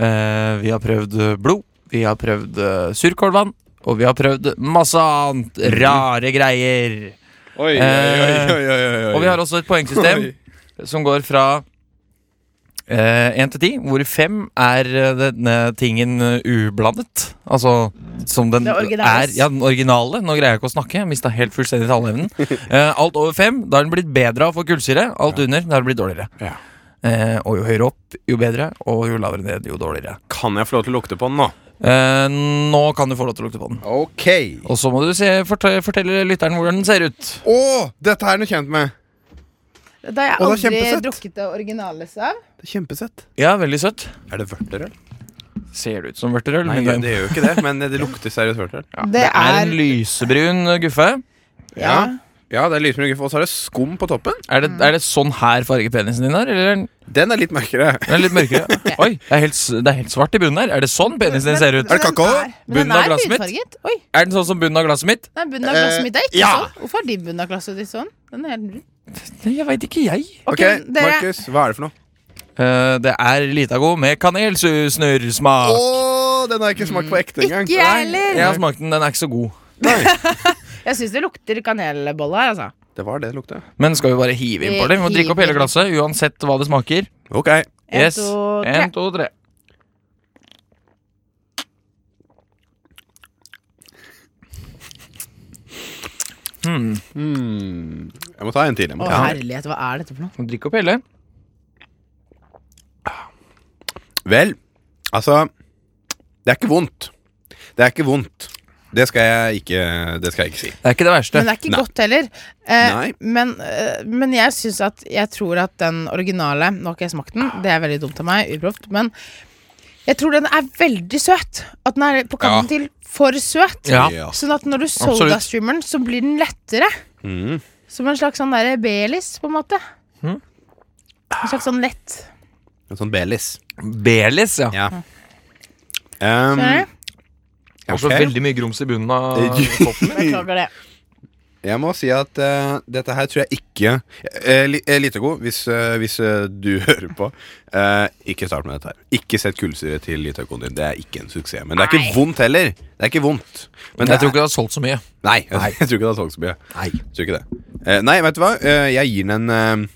Speaker 1: Eh, vi har prøvd blod, vi har prøvd eh, surkålvann, og vi har prøvd masse annet. Rare greier.
Speaker 2: er. Oi, oi, oi, oi, oi, oi.
Speaker 1: Og vi har også et poengsystem
Speaker 2: Oi.
Speaker 1: som går fra én til ti, hvor fem er eh, denne tingen eh, ublandet. Altså som den
Speaker 3: Det originale.
Speaker 1: er. Ja, den originale. Nå greier jeg ikke å snakke. Jeg mista helt fullstendig
Speaker 2: (laughs)
Speaker 1: taleevnen. Eh, alt over fem, da har den blitt bedre av å få kullsyre. Alt under, da har den blitt dårligere.
Speaker 2: Ja.
Speaker 1: Eh, og jo høyere opp, jo bedre. Og jo lavere ned, jo dårligere.
Speaker 2: Kan jeg få lov til å lukte på den nå?
Speaker 1: Eh, nå kan du få lov til å lukte på den.
Speaker 2: Ok.
Speaker 1: Og så må du se, fortelle, fortelle lytteren hvordan den ser ut.
Speaker 2: Å, dette er noe kjent med.
Speaker 3: Det har
Speaker 2: Å, det er
Speaker 3: jeg aldri
Speaker 2: kjempesøtt.
Speaker 3: drukket det originale av.
Speaker 2: Det er Kjempesøtt.
Speaker 1: Ja, veldig søtt.
Speaker 2: Er det vørterøl?
Speaker 1: Ser det ut som vørterøl?
Speaker 2: Nei,
Speaker 1: min venn?
Speaker 2: det gjør jo ikke det, men det lukter seriøst vørterøl.
Speaker 3: det
Speaker 1: Det er en lysebrun eh, guffe.
Speaker 3: ja.
Speaker 2: Ja, det er lysmørke, og så er det skum på toppen.
Speaker 1: Er det, er det sånn her fargepenisen din er? Eller er den,
Speaker 2: Den er litt mørkere.
Speaker 1: den er litt (laughs) mørkere? Oi, det er, helt, s- det er helt svart i bunnen her. Er det sånn penisen din ser ut?
Speaker 2: Er det kakao?
Speaker 3: Men den
Speaker 1: Bunnen av
Speaker 3: er
Speaker 1: glasset mitt?
Speaker 3: lydfarget. Oi,
Speaker 1: Er den sånn som bunnen av glasset mitt?
Speaker 3: nei, bunnen av glasset
Speaker 2: Eh,
Speaker 3: mitt er ikke
Speaker 2: ja.
Speaker 3: sånn. Hvorfor er din bunn av glasset ditt sånn? Den er helt rund.
Speaker 1: Nei, Jeg veit ikke, jeg.
Speaker 2: Ok,
Speaker 3: Ok, dere-
Speaker 2: Markus, hva er det for noe?
Speaker 1: Eh, det er Litago med
Speaker 2: Å,
Speaker 1: kanelsnurrsmak.
Speaker 2: den har jeg ikke smakt på ekte engang.
Speaker 3: Ikke jeg heller.
Speaker 1: Jeg har smakt den, den er ikke så god.
Speaker 3: Jeg syns det lukter kanelbolle her, altså.
Speaker 2: Det var det det lukta.
Speaker 1: Men skal vi bare Eh, hive inn på det? Vi må drikke opp hele glasset uansett hva det smaker.
Speaker 2: Ok.
Speaker 3: En,
Speaker 1: Yes.
Speaker 3: to, tre.
Speaker 1: En, to, tre. Hmm.
Speaker 2: Hmm. Jeg må ta en til. Jeg må
Speaker 3: Å
Speaker 2: ta en til.
Speaker 3: herlighet, hva er dette for noe?
Speaker 1: Drikk opp hele.
Speaker 2: Vel, altså Det er ikke vondt. Det er ikke vondt. Det skal jeg ikke, det skal jeg ikke si.
Speaker 1: Det er ikke det verste.
Speaker 3: Men det er ikke
Speaker 2: Nei.
Speaker 3: godt heller. Eh,
Speaker 2: Nei.
Speaker 3: men, eh, men jeg syns at Jeg tror at den originale Nå har ikke jeg smakt den, det er veldig dumt av meg, uproft, men jeg tror den er veldig søt. At den er på kanten til for søt.
Speaker 1: Ja.
Speaker 2: Ja.
Speaker 3: Sånn at når du
Speaker 1: Absolutt.
Speaker 3: sodastreamer den, så blir den lettere.
Speaker 2: Mm.
Speaker 3: Som en slags sånn derre Belis, på en måte.
Speaker 1: Mhm.
Speaker 3: En slags sånn lett.
Speaker 2: En sånn Belis.
Speaker 1: Belis, ja.
Speaker 2: Ja. Um,
Speaker 3: Skjønner du?
Speaker 1: Også
Speaker 2: ok. (laughs)
Speaker 1: veldig mye grums i bunnen av
Speaker 2: Eh,
Speaker 1: toppen.
Speaker 3: Beklager det.
Speaker 2: Jeg må si at eh, dette her tror jeg ikke eh, li- eh, Litego, hvis, eh, hvis eh, du (laughs) hører på, eh, ikke start med dette her. Ikke sett kullsyre til Litagoen din. Det er ikke en suksess. Men det er ikke vondt heller. Det er ikke vondt. Men
Speaker 1: Jeg
Speaker 2: det
Speaker 1: tror
Speaker 2: er,
Speaker 1: ikke det har solgt så mye.
Speaker 2: nei, (laughs) jeg, tror ikke det har solgt så mye. Nei, tror ikke det. Eh, nei, vet du hva? Eh, jeg gir den en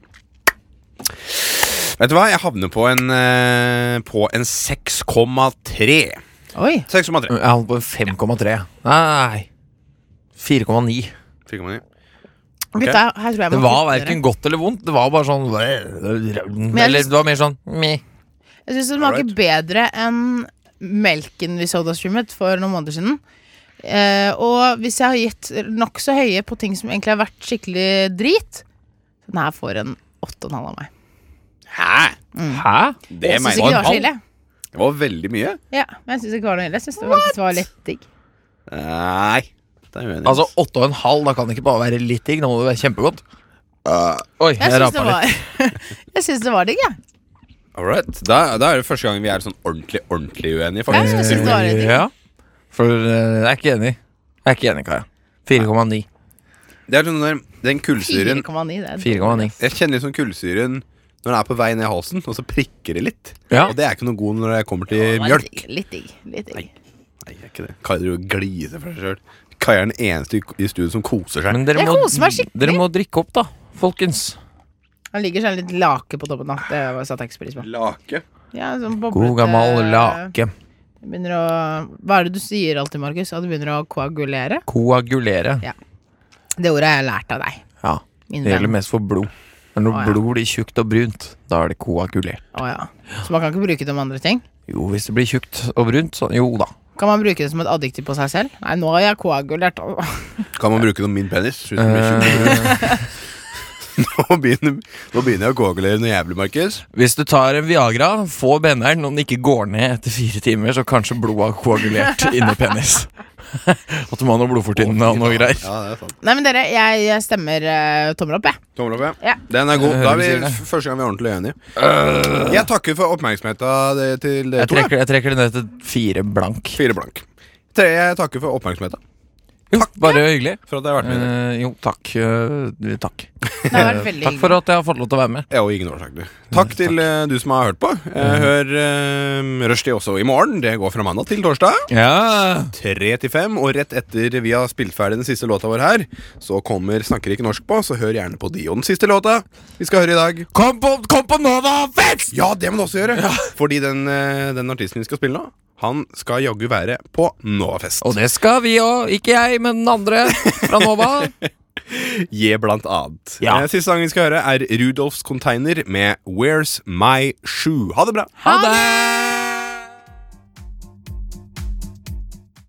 Speaker 2: eh, Vet du hva? Jeg havner på en eh, På en 6,3.
Speaker 3: Oi.
Speaker 2: 6,3.
Speaker 1: Jeg holdt på 5,3. Nei 4,9.
Speaker 2: 4,9.
Speaker 3: Gutta, her tror jeg
Speaker 1: Det
Speaker 3: må
Speaker 1: var
Speaker 3: kutte dere.
Speaker 1: verken godt eller vondt. Det var bare sånn Eller det var mer sånn meh.
Speaker 3: Jeg syns det smaker
Speaker 2: Alright.
Speaker 3: bedre enn melken vi sodastreamet for noen måneder siden. Eh, og hvis jeg har gitt nokså høye på ting som egentlig har vært skikkelig drit Den her får en 8,5 av meg.
Speaker 2: Hæ?
Speaker 3: Mm.
Speaker 1: Hæ?
Speaker 2: Det
Speaker 3: Jeg syns
Speaker 2: mener
Speaker 3: ikke det var så
Speaker 2: jeg.
Speaker 3: ille.
Speaker 2: Det var veldig mye.
Speaker 3: Ja, men jeg syns ikke det var noe ille. Jeg syns det faktisk var litt digg.
Speaker 2: Nei. Det er uenig.
Speaker 1: Altså 8,5, da kan det ikke bare være litt digg. Nå må det være kjempegodt. Oi, jeg,
Speaker 3: Uh, Jeg syns det
Speaker 1: rapa litt.
Speaker 3: var, (laughs) jeg syns det var digg, jeg.
Speaker 2: Alright. Da, da er det første gang vi er sånn ordentlig ordentlig uenige.
Speaker 3: Ja, jeg
Speaker 2: faktisk
Speaker 3: synes det var litt digg.
Speaker 1: Ja. For eh, jeg er ikke enig. Jeg er ikke enig, Kaja. 4,9.
Speaker 2: Det er sånn der, Den kullsyren
Speaker 3: 4,9. det er
Speaker 1: 4,9.
Speaker 2: Jeg kjenner liksom kullsyren når den er på vei ned i halsen, og så prikker det litt.
Speaker 1: Ja.
Speaker 2: Og det er ikke noe god når jeg kommer til
Speaker 3: det var litt
Speaker 2: mjølk.
Speaker 3: digg, Litt digg. Litt digg.
Speaker 2: Nei, det er ikke det. Kai driver og gliser for seg sjøl. Kai er den eneste i i studio som koser seg.
Speaker 1: Men dere
Speaker 3: Jeg
Speaker 1: må,
Speaker 3: koser meg skikkelig.
Speaker 1: dere må drikke opp, da, folkens.
Speaker 3: Han ligger sånn litt lake på toppen. da. Det satte jeg ikke så pris på.
Speaker 2: Lake.
Speaker 3: Ja, sånn boblete-
Speaker 1: God gammel lake.
Speaker 3: Det Begynner å Hva er det du sier alltid, Markus? At det begynner å koagulere?
Speaker 1: Koagulere.
Speaker 3: Ja. Det ordet har jeg lært av deg.
Speaker 1: Ja.
Speaker 3: Min
Speaker 1: Det gjelder
Speaker 3: venn.
Speaker 1: mest for blod. Men når
Speaker 3: Å, ja.
Speaker 1: blod blir tjukt og brunt, da er det koagulert.
Speaker 3: Å ja. Så man kan ikke bruke det om andre ting?
Speaker 1: Jo, hvis det blir tjukt og brunt, så jo da.
Speaker 3: Kan man bruke det som et adjektiv på seg selv? Nei, nå har jeg koagulert. altså.
Speaker 2: Kan man bruke det om min penis? Synes det blir tjukt. (laughs) nå, begynner, nå begynner jeg å koagulere noe jævlig, Markus.
Speaker 1: Hvis du tar en Viagra, få benderen. Om den ikke går ned etter fire timer, så kanskje blodet har koagulert inni penis. (laughs) At du må ha noe blodfortynnende og noe greier.
Speaker 2: Ja, det er sant.
Speaker 3: Nei, men dere, jeg, jeg stemmer eh, tommel opp, jeg.
Speaker 2: Tommel opp, ja.
Speaker 3: Ja.
Speaker 2: Den er god.
Speaker 1: Jeg
Speaker 2: Da
Speaker 1: hører
Speaker 2: er
Speaker 1: du sier
Speaker 2: vi
Speaker 1: det.
Speaker 2: f- første gang vi er ordentlig enige. Jeg takker for oppmerksomheten det- til dere
Speaker 1: Jeg
Speaker 2: to. da.
Speaker 1: trekker, jeg trekker det ned til fire blank.
Speaker 2: Fire blank. Tre, jeg takker for oppmerksomheten.
Speaker 1: Jo, bare hyggelig.
Speaker 2: For at jeg har vært med i det.
Speaker 1: Eh, jo, takk. eh, takk.
Speaker 3: Det har vært veldig
Speaker 1: Eh, Takk for at jeg har fått lov til å være med.
Speaker 2: Ja, og ingen årsak, du. Takk til eh, du som har hørt på. Eh, Hør uh, Rushdie også i morgen. Det går fra mandag til torsdag.
Speaker 1: Ja.
Speaker 2: tre til fem, og rett etter vi har spilt ferdig den siste låta vår her, så kommer Snakker ikke norsk på, så hør gjerne på de og den siste låta vi skal høre i dag.
Speaker 1: Kom på, kom på Nova Fest!
Speaker 2: Ja, det må du også gjøre! Fordi den, eh, den artisten vi skal spille nå, han skal jaggu være på Novafest.
Speaker 1: Og det skal vi òg. Ikke jeg, men den andre fra Nova.
Speaker 2: Je blant annet.
Speaker 1: Ja.
Speaker 2: Eh, Siste sangen vi skal høre, er Rudolfs Container med Where's My Shoe. Ha det bra!
Speaker 1: Ha det!